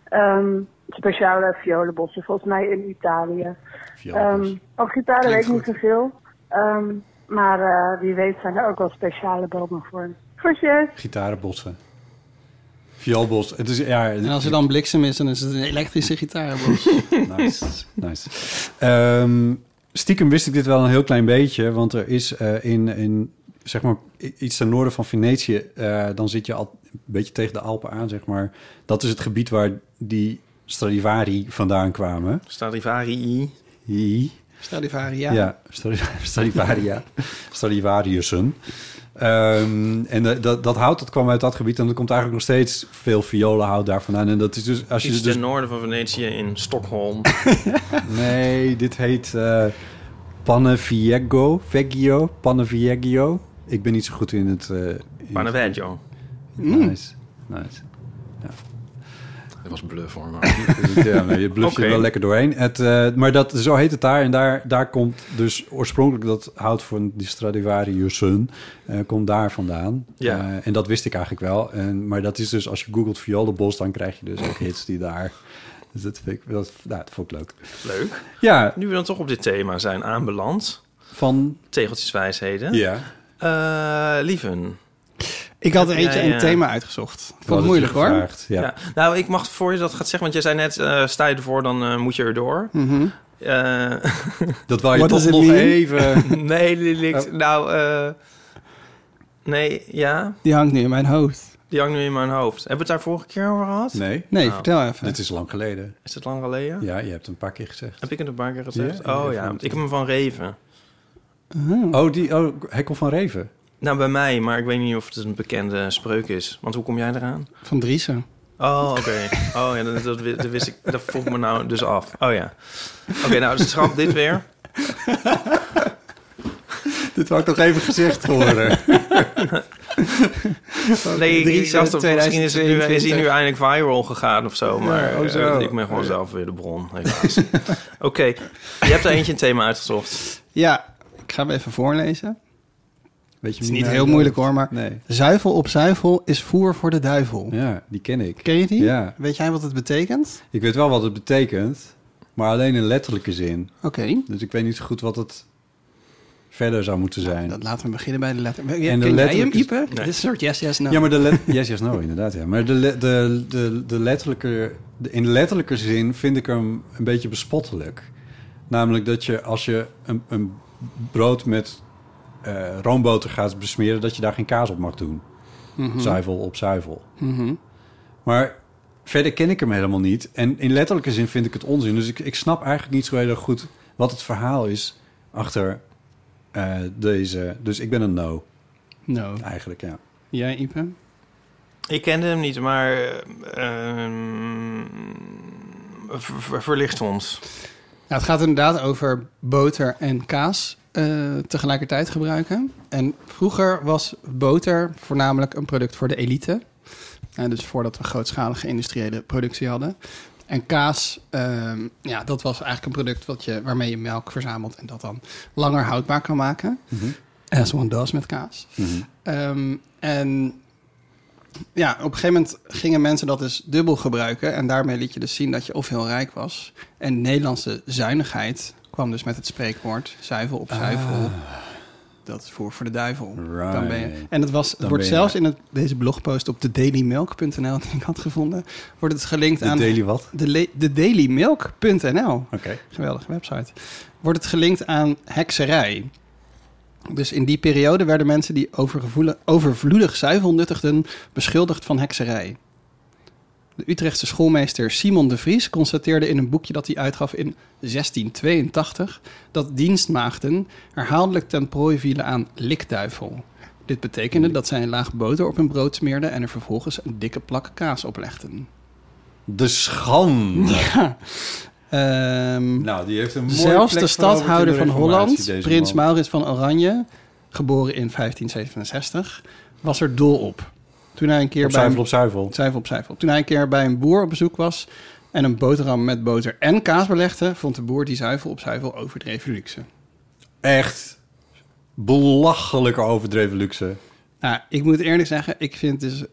Speaker 11: Ehm, speciale violenbossen, volgens mij in Italië.
Speaker 12: Violenbos.
Speaker 11: Ehm, over gitaren weet
Speaker 12: Klinkt
Speaker 11: ik niet zoveel. Ehm, maar eh, wie weet zijn er ook wel speciale bomen voor. Groetjes!
Speaker 2: Gitarenbossen. Vioolbos. Het is, ja,
Speaker 4: En als er dan bliksem is, dan is het een elektrische gitaar. Bos.
Speaker 2: Nice, nice. Ehm, stiekem wist ik dit wel een heel klein beetje, want er is eh, in, in zeg maar i- iets ten noorden van Venetië, eh, dan zit je al een beetje tegen de Alpen aan, zeg maar. Dat is het gebied waar die Stradivari vandaan kwamen.
Speaker 3: Stradivari.
Speaker 2: I.
Speaker 4: Stradivaria.
Speaker 2: Ja, Stradiv- Stradivaria. Stradivariussen. Ehm, en eh, dat, dat hout dat kwam uit dat gebied en er komt eigenlijk nog steeds veel violenhout daar vandaan. En dat is dus als je
Speaker 3: Iets
Speaker 2: dus
Speaker 3: ten noorden van Venetië in Stockholm.
Speaker 2: Nee, dit heet eh Paneviego. Veggio. Paneviego. Ik ben niet zo goed in het... eh, in het-
Speaker 3: Paneveggio.
Speaker 2: Nice. Nice.
Speaker 12: Dat was een bluff hoor. Maar...
Speaker 2: Dus, ja, maar je bluft
Speaker 12: Oké.
Speaker 2: je wel lekker doorheen. Het, eh, maar dat, zo heet het daar. En daar, daar komt dus oorspronkelijk dat hout van die Stradivariussen... eh, komt daar vandaan.
Speaker 3: Ja.
Speaker 2: Eh, en dat wist ik eigenlijk wel. En, maar dat is dus, als je googelt violenbos... dan krijg je dus ook hits die daar... Dus dat, vind ik, dat, nou, dat vond ik leuk.
Speaker 3: Leuk.
Speaker 2: Ja.
Speaker 3: Nu we dan toch op dit thema zijn aanbeland.
Speaker 2: Van?
Speaker 3: Tegeltjeswijsheden.
Speaker 2: Ja.
Speaker 3: Eh, lieven.
Speaker 4: Ik had er
Speaker 3: Heb
Speaker 4: eentje
Speaker 3: jij,
Speaker 4: en een
Speaker 3: eh,
Speaker 4: thema uitgezocht. Ik vond het moeilijk hoor.
Speaker 3: Ja. Nou, ik mag voor je dat gaat zeggen, want jij zei net, eh, sta je ervoor, dan eh, moet je erdoor.
Speaker 4: Mhm.
Speaker 3: Eh,
Speaker 2: Dat wou je What toch does it nog mean? even-
Speaker 3: nee,
Speaker 2: Oh.
Speaker 3: Lilith. Nou, eh, nee, ja.
Speaker 4: Die hangt nu in mijn hoofd.
Speaker 3: Die hangt nu in mijn hoofd. Hebben we het daar vorige keer over gehad?
Speaker 2: Nee.
Speaker 4: Nee,
Speaker 3: Nou,
Speaker 4: vertel even.
Speaker 2: Dit is lang geleden.
Speaker 3: Is het lang geleden?
Speaker 2: Ja, je hebt het een paar keer gezegd.
Speaker 3: Heb ik het een paar keer gezegd?
Speaker 2: Ja,
Speaker 3: oh
Speaker 2: ik
Speaker 3: ja,
Speaker 2: vond het-
Speaker 3: ik heb hem van Reven.
Speaker 2: Oh, die, oh Hekkel van Reven.
Speaker 3: Nou, bij mij, maar ik weet niet of het een bekende spreuk is. Want hoe kom jij eraan?
Speaker 4: Van Driessen.
Speaker 3: Oh, oké. Oh ja, dat, dat, wi- dat wist ik. Dat vroeg me nou dus af. Oh ja. Oké, nou, dus schrap dit weer.
Speaker 2: Dit wou ik nog even gezegd horen.
Speaker 3: Nee, ik
Speaker 2: Drie
Speaker 3: dacht dat misschien is, het nu, is hij nu
Speaker 2: 2022.
Speaker 3: eindelijk viral gegaan of zo. Maar
Speaker 2: Ja, oh, zo.
Speaker 3: eh, ik ben gewoon
Speaker 2: Oh, ja.
Speaker 3: zelf weer de bron, helaas. Oké, je hebt er eentje een thema uitgezocht.
Speaker 4: Ja, ik ga hem even voorlezen.
Speaker 2: Weet je
Speaker 4: Het is niet heel moeilijk hoor, maar zuivel op zuivel is voer voor de duivel.
Speaker 2: Ja, die ken ik.
Speaker 4: Ken je die?
Speaker 2: Ja.
Speaker 4: Weet jij wat het betekent?
Speaker 2: Ik weet wel wat het betekent, maar alleen in letterlijke zin.
Speaker 4: Oké.
Speaker 2: Dus ik weet niet zo goed wat het verder zou moeten zijn.
Speaker 4: Dat laten we beginnen bij de letter. En
Speaker 2: En
Speaker 4: Ken
Speaker 2: de
Speaker 4: jij hem,
Speaker 2: letterlijke-
Speaker 4: Ipe?
Speaker 2: Nee.
Speaker 4: Dit is een soort yes, yes, no.
Speaker 2: Ja, maar de let- yes, yes, no, inderdaad. Ja. Maar de, le- de, de, de letterlijke, de, in letterlijke zin vind ik hem een beetje bespottelijk. Namelijk dat je als je een, een brood met eh, roomboter gaat besmeren, dat je daar geen kaas op mag doen.
Speaker 4: Mhm.
Speaker 2: Zuivel op zuivel.
Speaker 4: Mhm.
Speaker 2: Maar verder ken ik hem helemaal niet. En in letterlijke zin vind ik het onzin. Dus ik, ik snap eigenlijk niet zo heel erg goed wat het verhaal is achter eh, deze. Dus ik ben een no.
Speaker 4: No.
Speaker 2: Eigenlijk, ja.
Speaker 4: Jij, Ipe?
Speaker 3: Ik kende hem niet, maar ehm, ver- ver- verlicht ons.
Speaker 4: Nou, het gaat inderdaad over boter en kaas eh, tegelijkertijd gebruiken. En vroeger was boter voornamelijk een product voor de elite. Eh, dus voordat we grootschalige industriële productie hadden. En kaas, ehm, ja, dat was eigenlijk een product wat je, waarmee je melk verzamelt en dat dan langer houdbaar kan maken.
Speaker 2: Mhm.
Speaker 4: As one does met kaas. Ehm, en ja, op een gegeven moment gingen mensen dat dus dubbel gebruiken. En daarmee liet je dus zien dat je of heel rijk was. En de Nederlandse zuinigheid kwam dus met het spreekwoord zuivel op zuivel.
Speaker 2: Ah.
Speaker 4: Dat is voor, voor de duivel. Dan ben je, en het, was, het
Speaker 2: Dan
Speaker 4: wordt
Speaker 2: ben je-
Speaker 4: zelfs in het, deze blogpost op de dailymelk.nl die ik had gevonden, wordt het gelinkt
Speaker 2: De
Speaker 4: aan...
Speaker 2: daily wat?
Speaker 4: De, le- de dailymelk.nl. Oké.
Speaker 2: Geweldige
Speaker 4: website. Wordt het gelinkt aan hekserij. Dus in die periode werden mensen die overgevoelig- overvloedig zuivel nuttigden beschuldigd van hekserij. De Utrechtse schoolmeester Simon de Vries constateerde in een boekje dat hij uitgaf in 1682 dat dienstmaagden herhaaldelijk ten prooi vielen aan likduivel. Dit betekende dat zij een laag boter op hun brood smeerden en er vervolgens een dikke plak kaas op legden.
Speaker 2: De schande.
Speaker 4: Ja. Ehm,
Speaker 2: Nou, die heeft een mooie
Speaker 4: Zelfs
Speaker 2: plek
Speaker 4: de stadhouder
Speaker 2: veroverd
Speaker 4: van
Speaker 2: in de
Speaker 4: Holland,
Speaker 2: Reformatie, deze
Speaker 4: prins
Speaker 2: man.
Speaker 4: Maurits van Oranje, geboren in 1567, was er dol op. Toen hij een keer
Speaker 2: Op
Speaker 4: bij
Speaker 2: zuivel
Speaker 4: een,
Speaker 2: op zuivel.
Speaker 4: Zuivel op zuivel. Toen hij een keer bij een boer op bezoek was en een boterham met boter en kaas belegde, vond de boer die zuivel op zuivel overdreven luxe.
Speaker 2: Echt belachelijke overdreven luxe.
Speaker 4: Nou, ik moet eerlijk zeggen, ik vind dus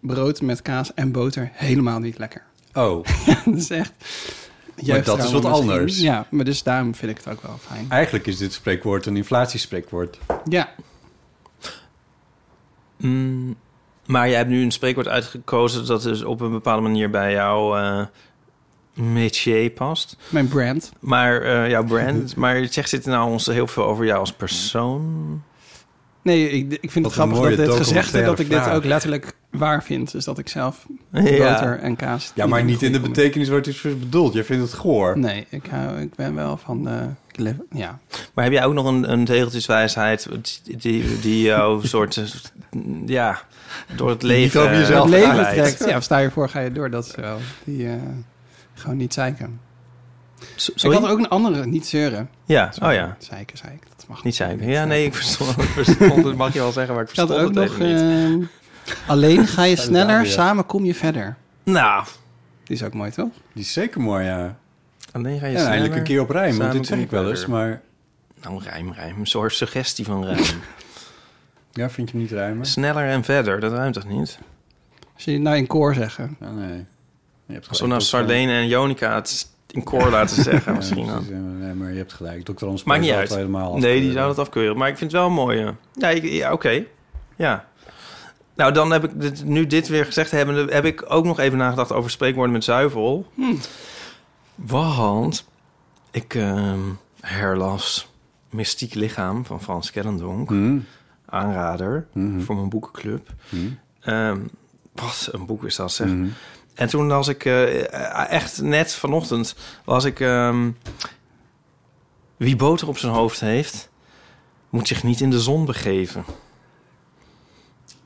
Speaker 4: brood met kaas en boter helemaal niet lekker.
Speaker 2: Oh.
Speaker 4: dat is echt.
Speaker 2: Maar dat is wat
Speaker 4: Juist trouwens,
Speaker 2: anders.
Speaker 4: Ja, maar dus daarom vind ik het ook wel fijn.
Speaker 2: Eigenlijk is dit spreekwoord een inflatiespreekwoord.
Speaker 4: Ja.
Speaker 3: Mm, maar jij hebt nu een spreekwoord uitgekozen dat dus op een bepaalde manier bij jouw eh métier past.
Speaker 4: Mijn brand.
Speaker 3: Maar eh, jouw brand. maar zegt dit nou ons heel veel over jou als persoon?
Speaker 4: Nee, ik, ik
Speaker 3: Wat
Speaker 4: vind het
Speaker 3: een
Speaker 4: grappig
Speaker 3: mooie
Speaker 4: dat dit gezegd is,
Speaker 3: documentaire
Speaker 4: dat ik dit
Speaker 3: vraag.
Speaker 4: ook letterlijk waar vind. Dus dat ik zelf
Speaker 2: Ja.
Speaker 4: boter en kaas...
Speaker 2: Ja, maar niet in de betekenis waar het is bedoeld. Jij vindt het goor.
Speaker 4: Nee, ik, hou, ik ben wel van eh, le- ja.
Speaker 3: Maar heb jij ook nog een, een tegeltjeswijsheid die, die jou een soort, eh, ja, door het leven,
Speaker 4: Niet over jezelf
Speaker 3: eh,
Speaker 4: leven
Speaker 3: leidt?
Speaker 4: trekt. Ja, of sta je voor, ga je door. Dat is wel. Die eh, gewoon niet zeiken.
Speaker 3: sorry?
Speaker 4: Ik had ook een andere, niet zeuren.
Speaker 3: Ja,
Speaker 4: Sorry,
Speaker 3: oh ja.
Speaker 4: Zeiken, zeiken. Dat mag
Speaker 3: Niet zeiken. Ja, nee, ik verstond, ik verstond het, mag je wel zeggen, maar ik
Speaker 4: Ik had
Speaker 3: verstond
Speaker 4: ook
Speaker 3: het
Speaker 4: nog.
Speaker 3: even niet.
Speaker 4: eh, alleen ga
Speaker 3: Zou
Speaker 4: je
Speaker 3: het
Speaker 4: sneller,
Speaker 3: aanbieden?
Speaker 4: samen kom je verder.
Speaker 2: eh,
Speaker 3: Nou.
Speaker 4: Die is ook mooi, toch?
Speaker 2: Die is zeker mooi, ja.
Speaker 3: Alleen ga je
Speaker 2: Ja, eindelijk
Speaker 3: sneller,
Speaker 2: een keer op rijm, want
Speaker 3: samen
Speaker 2: dit zeg
Speaker 3: kom
Speaker 2: ik wel eens,
Speaker 3: verder.
Speaker 2: maar...
Speaker 3: Nou, rijm, rijm. Een soort suggestie van rijm.
Speaker 2: Ja, vind je hem niet rijmen?
Speaker 3: Sneller en verder, dat ruimt toch niet?
Speaker 4: Als je dit nou in koor zeggen.
Speaker 2: nee.
Speaker 3: Als we nou Sardene en Jonica het in koor laten zeggen, misschien dan.
Speaker 2: Nee, maar je hebt gelijk. Dr. Hans
Speaker 3: Maakt niet
Speaker 2: zou
Speaker 3: uit.
Speaker 2: het helemaal
Speaker 3: nee, die zou dat afkeuren. Maar ik vind het wel mooi. eh. Ja, ik- ja, oké. Ja. Nou, dan heb ik dit, nu dit weer gezegd hebben, heb ik ook nog even nagedacht over spreekwoorden met zuivel. Want ik ehm, herlas Mystiek Lichaam van Frans Kellendonk. Aanrader
Speaker 2: Mhm.
Speaker 3: voor mijn boekenclub. Ehm, wat een boek is
Speaker 2: Hm,
Speaker 3: dat, zeg. En toen las ik, eh, echt net vanochtend, las ik... ehm, wie boter op zijn hoofd heeft, moet zich niet in de zon begeven.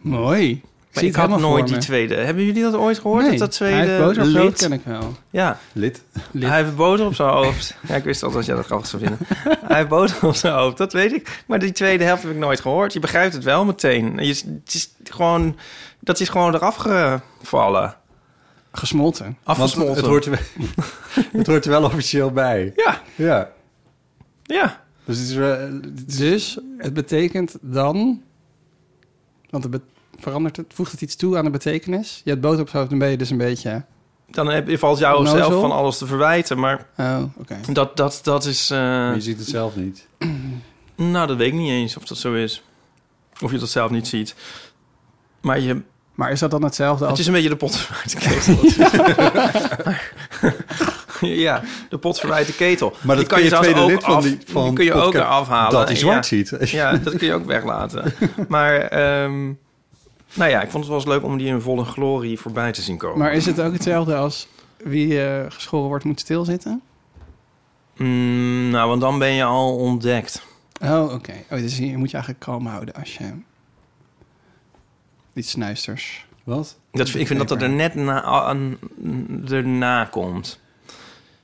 Speaker 4: Mooi. Ik
Speaker 3: Maar
Speaker 4: zie
Speaker 3: ik
Speaker 4: het
Speaker 3: had
Speaker 4: helemaal
Speaker 3: nooit
Speaker 4: voor
Speaker 3: die
Speaker 4: me.
Speaker 3: tweede. Hebben jullie dat ooit gehoord?
Speaker 4: Nee,
Speaker 3: dat dat
Speaker 4: hij
Speaker 3: tweede
Speaker 4: heeft boter op zijn hoofd,
Speaker 3: lid?
Speaker 4: ken ik wel.
Speaker 3: Ja.
Speaker 2: Lid.
Speaker 3: Hij heeft boter op zijn hoofd. Ja, ik wist al dat jij dat grappig zou vinden. Hij heeft boter op zijn hoofd, dat weet ik. Maar die tweede helft heb ik nooit gehoord. Je begrijpt het wel meteen. Je, het is gewoon, dat is gewoon eraf gevallen.
Speaker 4: Gesmolten.
Speaker 3: Afgesmolten.
Speaker 2: Want het, hoort er, wel- het hoort er wel officieel bij.
Speaker 3: Ja.
Speaker 2: Ja.
Speaker 3: Ja.
Speaker 2: Dus het, is,
Speaker 4: dus het betekent dan... Want het be- verandert het, voegt het iets toe aan de betekenis? Je hebt boter op het hoofd, dan ben je dus een beetje...
Speaker 3: Dan heb, valt jou
Speaker 4: Onnozel?
Speaker 3: zelf van alles te verwijten, maar
Speaker 4: Oh, oké.
Speaker 3: dat, dat, dat is... eh,
Speaker 2: Je ziet het zelf niet.
Speaker 3: Nou, dat weet ik niet eens of dat zo is. Of je dat zelf niet ziet. Maar je...
Speaker 4: Maar is dat dan hetzelfde als...
Speaker 3: Het is een beetje de pot verwijt de ketel. ja. de pot verwijt de ketel.
Speaker 2: Maar dat kun je
Speaker 3: zelfs
Speaker 2: tweede
Speaker 3: ook
Speaker 2: lid van die- van
Speaker 3: die kun je ook
Speaker 2: podcast-
Speaker 3: eraf halen.
Speaker 2: dat hij zwart
Speaker 3: ja.
Speaker 2: ziet.
Speaker 3: Ja, dat kun je ook weglaten. Maar ehm, nou ja, ik vond het wel eens leuk om die in volle glorie voorbij te zien komen.
Speaker 4: Maar is het ook hetzelfde als wie eh, geschoren wordt moet stilzitten?
Speaker 3: Mm, nou, want dan ben je al ontdekt.
Speaker 4: Oh, oké. Oh, dus je moet je eigenlijk kalm houden als je... Die snuisters.
Speaker 2: Wat?
Speaker 3: Dat, ik vind dat dat er net na, aan- erna komt.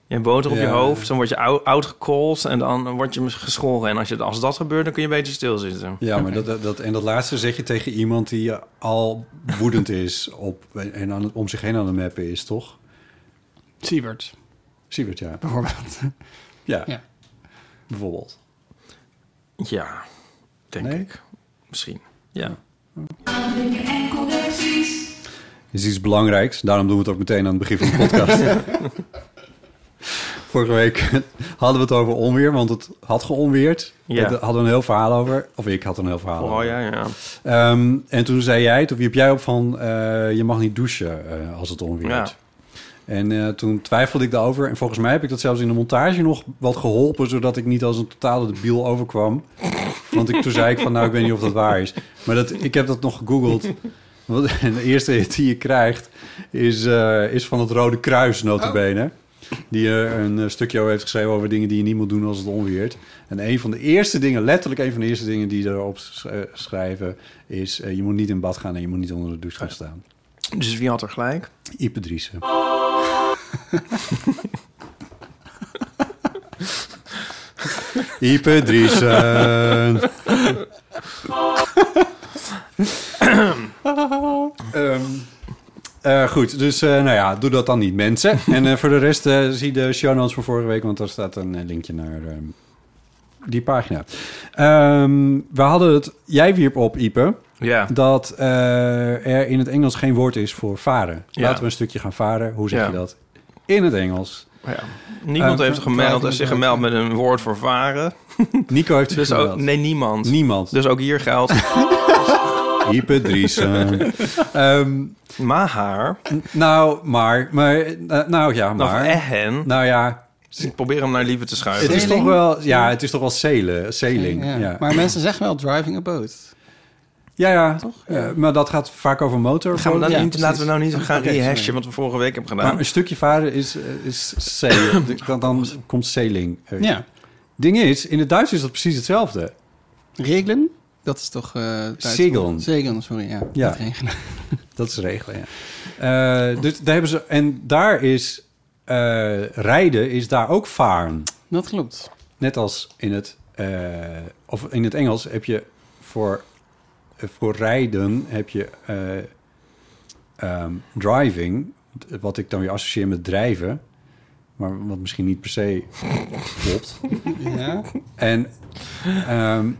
Speaker 3: Je hebt boter op
Speaker 4: Ja.
Speaker 3: je hoofd, dan word je ou- oud gecalls en dan word je geschoren. En als, je, als dat gebeurt, dan kun je beter stilzitten.
Speaker 2: Ja, maar dat- dat, dat, en dat laatste zeg je tegen iemand die eh, al woedend is op, en aan, het- om zich heen aan het mappen is, toch?
Speaker 4: Siebert.
Speaker 2: Siebert, ja.
Speaker 4: Bijvoorbeeld.
Speaker 2: Ja.
Speaker 4: Ja.
Speaker 2: Bijvoorbeeld.
Speaker 3: Ja, denk ik. Misschien. Ja.
Speaker 2: is iets belangrijks. Daarom doen we het ook meteen aan het begin van de podcast. Vorige week hadden we het over onweer, want het had geonweerd.
Speaker 3: Ja.
Speaker 2: We hadden een heel verhaal over. Of ik had een heel verhaal
Speaker 3: Oh
Speaker 2: over.
Speaker 3: ja, ja.
Speaker 2: Ehm, en toen zei jij, toen hiep jij op van... eh, je mag niet douchen eh, als het onweert.
Speaker 3: Ja.
Speaker 2: En eh, toen twijfelde ik daarover. En volgens mij heb ik dat zelfs in de montage nog wat geholpen... zodat ik niet als een totale debiel overkwam. Want ik, toen zei ik van, nou, ik weet niet of dat waar is. Maar dat, ik heb dat nog gegoogeld. Want de eerste hit die je krijgt is, eh, is van het Rode Kruis, notabene. Die eh, een eh, stukje over heeft geschreven over dingen die je niet moet doen als het onweert. En een van de eerste dingen, letterlijk een van de eerste dingen die erop sch- eh, schrijven... is eh, je moet niet in bad gaan en je moet niet onder de douche gaan staan.
Speaker 3: Dus wie had er gelijk?
Speaker 2: Ipe Driessen. Ipe Driessen. Ehm, eh, goed, dus eh, nou ja, doe dat dan niet, mensen. en eh, voor de rest eh, zie de show notes van vorige week, want daar staat een eh, linkje naar ehm, die pagina. Ehm, we hadden het, jij wierp op, Ipe,
Speaker 3: Ja.
Speaker 2: dat eh, er in het Engels geen woord is voor varen.
Speaker 3: Ja.
Speaker 2: Laten we een stukje gaan varen. Hoe zeg
Speaker 3: Ja.
Speaker 2: je dat? In het Engels.
Speaker 3: Niemand
Speaker 2: Eh,
Speaker 3: heeft gemeld, zich gemeld met een woord voor varen.
Speaker 2: Nico heeft zich
Speaker 3: dus ook,
Speaker 2: gemeld.
Speaker 3: Nee, niemand.
Speaker 2: Niemand.
Speaker 3: Dus ook hier geldt...
Speaker 2: Ipe Driessen.
Speaker 3: maar haar.
Speaker 2: Nou, maar, maar, eh, nou ja,
Speaker 3: Nog
Speaker 2: maar.
Speaker 3: ehen.
Speaker 2: Nou ja.
Speaker 3: Dus ik probeer hem naar lieve te schuiven.
Speaker 2: Het is toch wel, ja, het is toch wel zeilen, sailing.
Speaker 4: Ja.
Speaker 2: Ja, ja.
Speaker 4: Maar mensen zeggen wel driving a boat.
Speaker 2: ja, toch? maar dat gaat vaak over motor.
Speaker 3: Gaan we nou
Speaker 2: Ja,
Speaker 3: niet,
Speaker 2: precies.
Speaker 3: laten we nou niet gaan
Speaker 2: Oké,
Speaker 3: rehashen
Speaker 2: sorry.
Speaker 3: wat we vorige week hebben gedaan.
Speaker 2: Maar een stukje varen is, eh, is zeilen. dan, dan komt sailing. Eh,
Speaker 4: Ja.
Speaker 2: Ding is, in het Duits is dat precies hetzelfde.
Speaker 4: Regelen? Dat is toch... eh Duits-
Speaker 2: Segelen.
Speaker 4: Segelen, sorry. Ja,
Speaker 2: Ja.
Speaker 4: Niet regelen.
Speaker 2: Dat is regelen, ja. Eh, dus daar hebben ze, en daar is eh, rijden is daar ook varen.
Speaker 4: Dat klopt.
Speaker 2: Net als in het, eh, of in het Engels heb je voor, eh, voor rijden heb je eh, ehm, driving, wat ik dan weer associeer met drijven, maar wat misschien niet per se klopt.
Speaker 4: Ja.
Speaker 2: En ehm,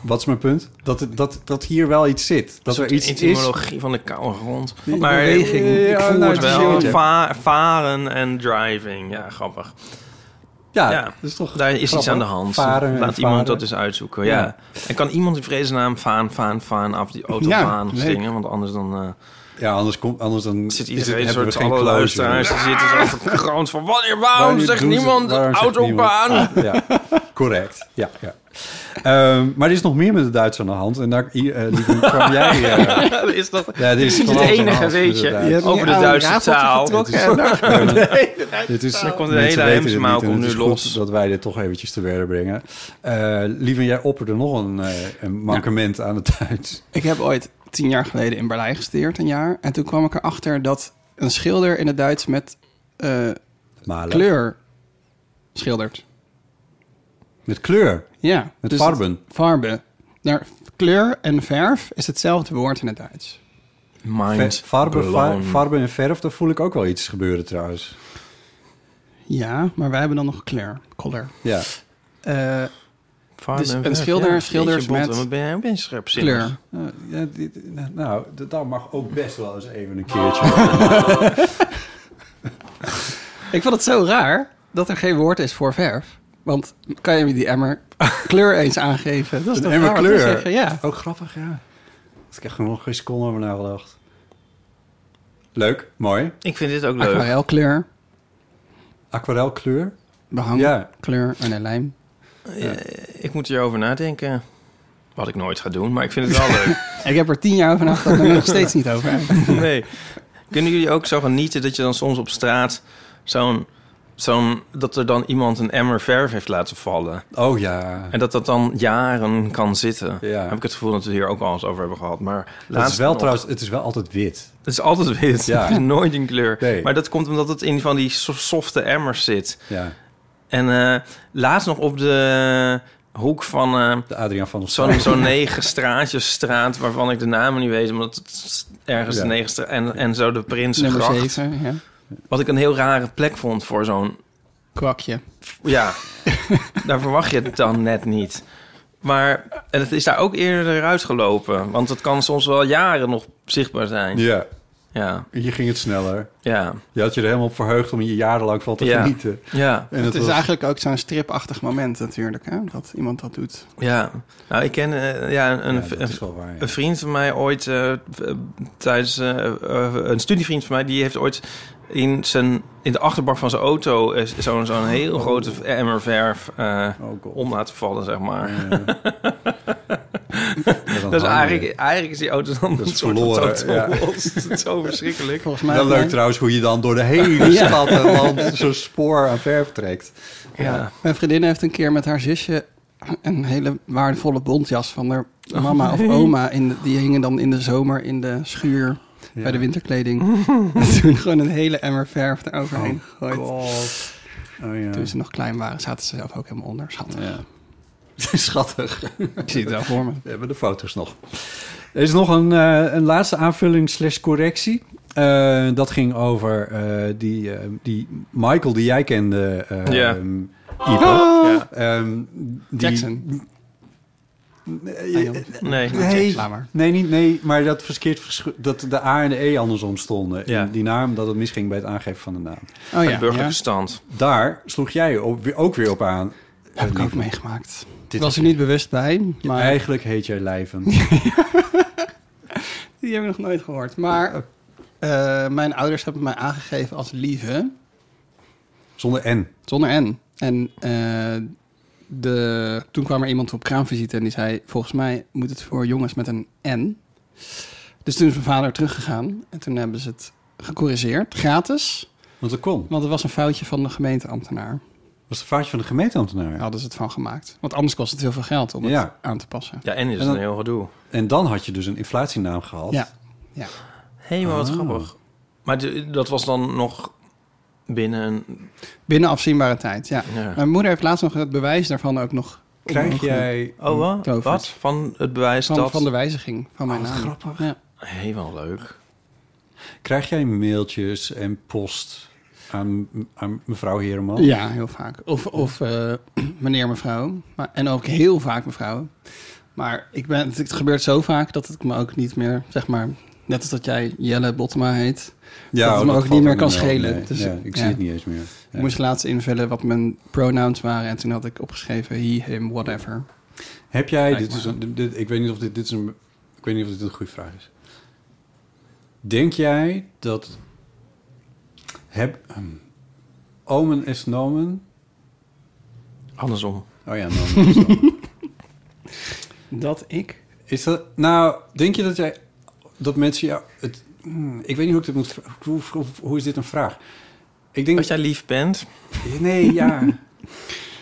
Speaker 2: wat is mijn punt? Dat, het- dat, dat hier wel iets zit. Dat er iets is.
Speaker 3: etymologie van de koude grond.
Speaker 2: Die
Speaker 3: maar
Speaker 2: beweging.
Speaker 3: ik,
Speaker 2: Ja,
Speaker 3: voel
Speaker 2: nou,
Speaker 3: het
Speaker 2: het is
Speaker 3: wel.
Speaker 2: heel-
Speaker 3: Va- varen en driving. Ja, grappig.
Speaker 2: Ja, dat is toch
Speaker 3: daar is iets
Speaker 2: grappig.
Speaker 3: aan de hand.
Speaker 2: Varen en
Speaker 3: Laat iemand
Speaker 2: varen.
Speaker 3: dat eens uitzoeken. Ja.
Speaker 2: Ja.
Speaker 3: En kan iemand in vreesnaam vaan, vaan, vaan af die auto
Speaker 2: Ja,
Speaker 3: vaan
Speaker 2: leuk.
Speaker 3: stingen? Want anders dan... eh,
Speaker 2: Ja, anders, komt anders dan
Speaker 3: zit
Speaker 2: is het-
Speaker 3: iedereen een
Speaker 2: hebben we
Speaker 3: soort
Speaker 2: geen
Speaker 3: alle
Speaker 2: closure.
Speaker 3: luisteraars. Ze zitten zo verkroond van... Wanneer, waarom
Speaker 2: Waarom
Speaker 3: zegt
Speaker 2: doen ze-
Speaker 3: niemand
Speaker 2: waarom zegt
Speaker 3: autobaan?
Speaker 2: niemand? Ah, Ja, correct. Ja, ja. Ehm, maar er is nog meer met de Duits aan de hand. En daar eh, Lieven, kwam jij... eh,
Speaker 3: Ja, dat is dat.
Speaker 2: Ja, dit is
Speaker 3: Dit
Speaker 2: gewoon
Speaker 3: het
Speaker 2: van
Speaker 3: enige
Speaker 2: alles,
Speaker 3: weetje
Speaker 2: inderdaad. Je hebt
Speaker 3: over
Speaker 2: hier
Speaker 3: de
Speaker 2: aan
Speaker 3: Duitse
Speaker 2: rafeltje
Speaker 3: taal.
Speaker 2: getrokken
Speaker 3: Dit
Speaker 2: en
Speaker 4: nou,
Speaker 3: is-
Speaker 2: daar-
Speaker 3: Nee,
Speaker 2: Nee,
Speaker 3: de Duitse
Speaker 2: Dit is,
Speaker 3: taal. komt de
Speaker 2: mensen
Speaker 3: hele
Speaker 2: weten dit
Speaker 3: hemsmaal
Speaker 2: niet en
Speaker 3: komt
Speaker 2: het
Speaker 3: nu
Speaker 2: is goed
Speaker 3: los.
Speaker 2: dat wij dit toch eventjes te werden brengen. Eh Lieven, jij opperde nog een, eh, een mankement aan het Duits.
Speaker 4: Ik heb ooit tien jaar geleden in Berlijn gestudeerd, een jaar. En toen kwam ik erachter dat een schilder in het Duits met eh, kleur schildert.
Speaker 2: Met kleur?
Speaker 4: Ja.
Speaker 2: Met
Speaker 4: dus
Speaker 2: farben?
Speaker 4: het- Farben. Daar, kleur en verf is hetzelfde woord in het Duits.
Speaker 3: Mind
Speaker 2: Ve- Farbe,
Speaker 4: blown.
Speaker 2: va- farbe en verf, daar voel ik ook wel iets gebeuren trouwens.
Speaker 4: Ja, maar wij hebben dan nog kleur. Color.
Speaker 2: Ja.
Speaker 4: Eh,
Speaker 3: Farben
Speaker 4: dus
Speaker 3: en
Speaker 4: een
Speaker 3: verf,
Speaker 4: schilder,
Speaker 3: ja.
Speaker 4: schilders
Speaker 3: Jeetje, Botte,
Speaker 4: met
Speaker 3: wat ben jij ook een scherpzinnig.
Speaker 4: kleur.
Speaker 2: Nou, ja, dit- nou, nou, d- dat mag ook best wel eens even een keertje.
Speaker 4: Ik vond het zo raar dat er geen woord is voor verf. Want kan je me die emmer kleur eens aangeven? Dat is
Speaker 2: Een
Speaker 4: toch
Speaker 2: emmer
Speaker 4: raar om te
Speaker 2: kleur? Oh,
Speaker 4: zeggen, Ja.
Speaker 2: Ook grappig, ja. Ik heb er nog geen seconde over nagedacht. Leuk, mooi.
Speaker 3: Ik vind dit ook leuk.
Speaker 4: Aquarelkleur,
Speaker 2: Aquarelkleur?
Speaker 4: behang,
Speaker 2: Ja.
Speaker 4: kleur en een lijm.
Speaker 3: Eh, Ik moet hierover nadenken. Wat ik nooit ga doen, maar ik vind het wel leuk.
Speaker 4: Ik heb er tien jaar over nagedacht en er nog steeds niet over.
Speaker 3: nee. Kunnen jullie ook zo genieten dat je dan soms op straat zo'n... zo'n dat er dan iemand een emmer verf heeft laten vallen?
Speaker 2: Oh ja.
Speaker 3: En dat dat dan jaren kan zitten.
Speaker 2: Ja.
Speaker 3: Heb ik het gevoel dat we hier ook al eens over hebben gehad. Maar
Speaker 2: Dat
Speaker 3: laatst
Speaker 2: is wel
Speaker 3: nog-
Speaker 2: trouwens, het is wel altijd wit.
Speaker 3: Het is altijd wit.
Speaker 2: Ja.
Speaker 3: Het is nooit een kleur.
Speaker 2: Nee.
Speaker 3: Maar dat komt omdat het in van die so- softe emmers zit.
Speaker 2: Ja.
Speaker 3: En eh, laatst nog op de hoek van... eh,
Speaker 2: Adriaan van ons.
Speaker 3: Zo'n zo'n negen straatjes straat waarvan ik de namen niet weet, omdat het ergens
Speaker 2: Ja.
Speaker 3: de negen stra- en, en zo de
Speaker 4: Nummer
Speaker 3: Prinsengracht.
Speaker 4: zeven, ja.
Speaker 3: Wat ik een heel rare plek vond voor zo'n...
Speaker 4: Kwakje.
Speaker 3: Ja, daar verwacht je het dan net niet. Maar en het is daar ook eerder uitgelopen. Want het kan soms wel jaren nog zichtbaar zijn.
Speaker 2: Ja.
Speaker 3: Ja.
Speaker 2: Je ging het sneller.
Speaker 3: Ja.
Speaker 2: Je had je er helemaal op verheugd om je jarenlang van te
Speaker 3: Ja.
Speaker 2: genieten.
Speaker 3: Ja.
Speaker 2: En
Speaker 4: het
Speaker 2: het
Speaker 4: is
Speaker 2: was-
Speaker 4: eigenlijk ook zo'n stripachtig moment natuurlijk, hè, dat iemand dat doet.
Speaker 3: Ja, nou ik ken eh, ja, een,
Speaker 4: dat is wel waar, ja.
Speaker 3: een vriend van mij ooit eh, eh, tijdens eh, eh, een studievriend van mij die heeft ooit in zijn in de achterbak van zijn auto eh, zo'n zo'n heel grote emmer verf eh,
Speaker 2: Oh,
Speaker 3: om laten vallen zeg maar. dat is
Speaker 2: hangen.
Speaker 3: eigenlijk, eigenlijk is die auto dan
Speaker 2: Oh, Dat is
Speaker 3: een soort
Speaker 2: verloren,
Speaker 3: totaal
Speaker 2: ja.
Speaker 3: lost. Het is zo verschrikkelijk. Volgens
Speaker 2: Wel leuk trouwens hoe je dan door de hele
Speaker 4: Ja.
Speaker 2: stad en land zo'n spoor aan verf trekt.
Speaker 4: Mijn vriendin heeft een keer met haar zusje een hele waardevolle bontjas van haar mama
Speaker 2: Oh,
Speaker 4: of
Speaker 2: nee.
Speaker 4: oma. In de- die hingen dan in de zomer in de schuur
Speaker 2: Ja.
Speaker 4: bij de winterkleding. en toen gewoon een hele emmer verf eroverheen gegooid.
Speaker 2: Oh, ja.
Speaker 4: Toen ze nog klein waren, zaten ze zelf ook helemaal onder. Schattig.
Speaker 2: Schattig.
Speaker 4: Ik zie het wel voor me.
Speaker 2: We hebben de foto's nog. Er is nog een, eh, een laatste aanvulling slash correctie. Eh, dat ging over eh, die, eh, die Michael die jij kende. eh,
Speaker 3: Ja.
Speaker 2: ehm,
Speaker 3: Ah.
Speaker 2: Ipe.
Speaker 3: Ja.
Speaker 2: Ehm, die,
Speaker 3: Jackson. Ah,
Speaker 4: Ah,
Speaker 2: Nee,
Speaker 3: Nee.
Speaker 4: Nou,
Speaker 2: nee,
Speaker 3: Laat maar.
Speaker 2: nee, niet, nee, maar dat verkeerd versch- dat de A en de E andersom stonden.
Speaker 3: Ja.
Speaker 2: In die naam, dat het misging bij het aangeven van de naam.
Speaker 4: Oh ja,
Speaker 3: de burgerlijke
Speaker 4: ja.
Speaker 3: stand.
Speaker 2: Daar sloeg jij ook weer- ook weer op aan. Eh,
Speaker 4: Heb ik ook meegemaakt. Ik was er niet bewust bij, maar...
Speaker 2: Eigenlijk heet jij Lijven.
Speaker 4: Die hebben we nog nooit gehoord.
Speaker 2: Oh.
Speaker 4: Maar eh, mijn ouders hebben mij aangegeven als lieve.
Speaker 2: Zonder N.
Speaker 4: Zonder N. En eh, de, toen kwam er iemand op kraamvisite en die zei... volgens mij moet het voor jongens met een N. Dus toen is mijn vader teruggegaan. En toen hebben ze het gecorrigeerd, gratis.
Speaker 2: Want dat kon.
Speaker 4: Want het was een foutje van de gemeenteambtenaar.
Speaker 2: was een foutje van de gemeenteambtenaar.
Speaker 4: Hadden ze het van gemaakt. Want anders kost het heel veel geld om het
Speaker 2: Ja.
Speaker 4: aan te passen.
Speaker 3: Ja, en is
Speaker 2: dan-
Speaker 3: een heel gedoe.
Speaker 2: En dan had je dus een inflatienaam gehad.
Speaker 4: Ja. ja.
Speaker 3: Helemaal wat grappig. Maar de- dat was dan nog binnen een...
Speaker 4: Binnen afzienbare tijd, ja.
Speaker 3: Ja.
Speaker 4: Mijn moeder heeft laatst nog het bewijs daarvan ook nog.
Speaker 2: Krijg
Speaker 4: opgedoken.
Speaker 2: jij-
Speaker 3: Oh, wat?
Speaker 4: Tovert.
Speaker 3: Wat? Van het bewijs
Speaker 4: Van,
Speaker 3: dat...
Speaker 4: van de wijziging van mijn
Speaker 3: Oh, wat
Speaker 4: naam.
Speaker 3: grappig.
Speaker 4: Ja.
Speaker 3: Helemaal leuk.
Speaker 2: Krijg jij mailtjes en post aan, aan mevrouw Hereman?
Speaker 4: Ja, heel vaak. Of, of eh, meneer, mevrouw. Maar, en ook heel vaak mevrouw. Maar ik ben, het gebeurt zo vaak dat ik me ook niet meer, zeg maar... Net als dat jij Jelle Bottema heet.
Speaker 2: Ja,
Speaker 4: dat
Speaker 2: oh,
Speaker 4: het me
Speaker 2: dat
Speaker 4: ook
Speaker 2: valt
Speaker 4: niet meer
Speaker 2: ook
Speaker 4: kan
Speaker 2: niet wel.
Speaker 4: schelen.
Speaker 2: Nee, ja, ik zie het niet eens meer.
Speaker 4: Ik
Speaker 2: Ja.
Speaker 4: moest laatst invullen wat mijn pronouns waren. En toen had ik opgeschreven he, him, whatever.
Speaker 2: Heb jij,
Speaker 4: Kijk
Speaker 2: dit is
Speaker 4: maar.
Speaker 2: een, dit- dit- ik weet niet of dit, dit is een, ik weet niet of dit een goede vraag is. Denk jij dat heb ehm, omen is nomen?
Speaker 3: Andersom.
Speaker 2: Oh ja, nomen is nomen.
Speaker 4: Dat ik?
Speaker 2: Is dat nou? Denk je dat jij dat mensen jou? Het, hmm, ik weet niet hoe ik dit moet. vra- Hoe, hoe, hoe is dit een vraag? Ik denk
Speaker 3: dat jij lief bent.
Speaker 2: Nee, ja.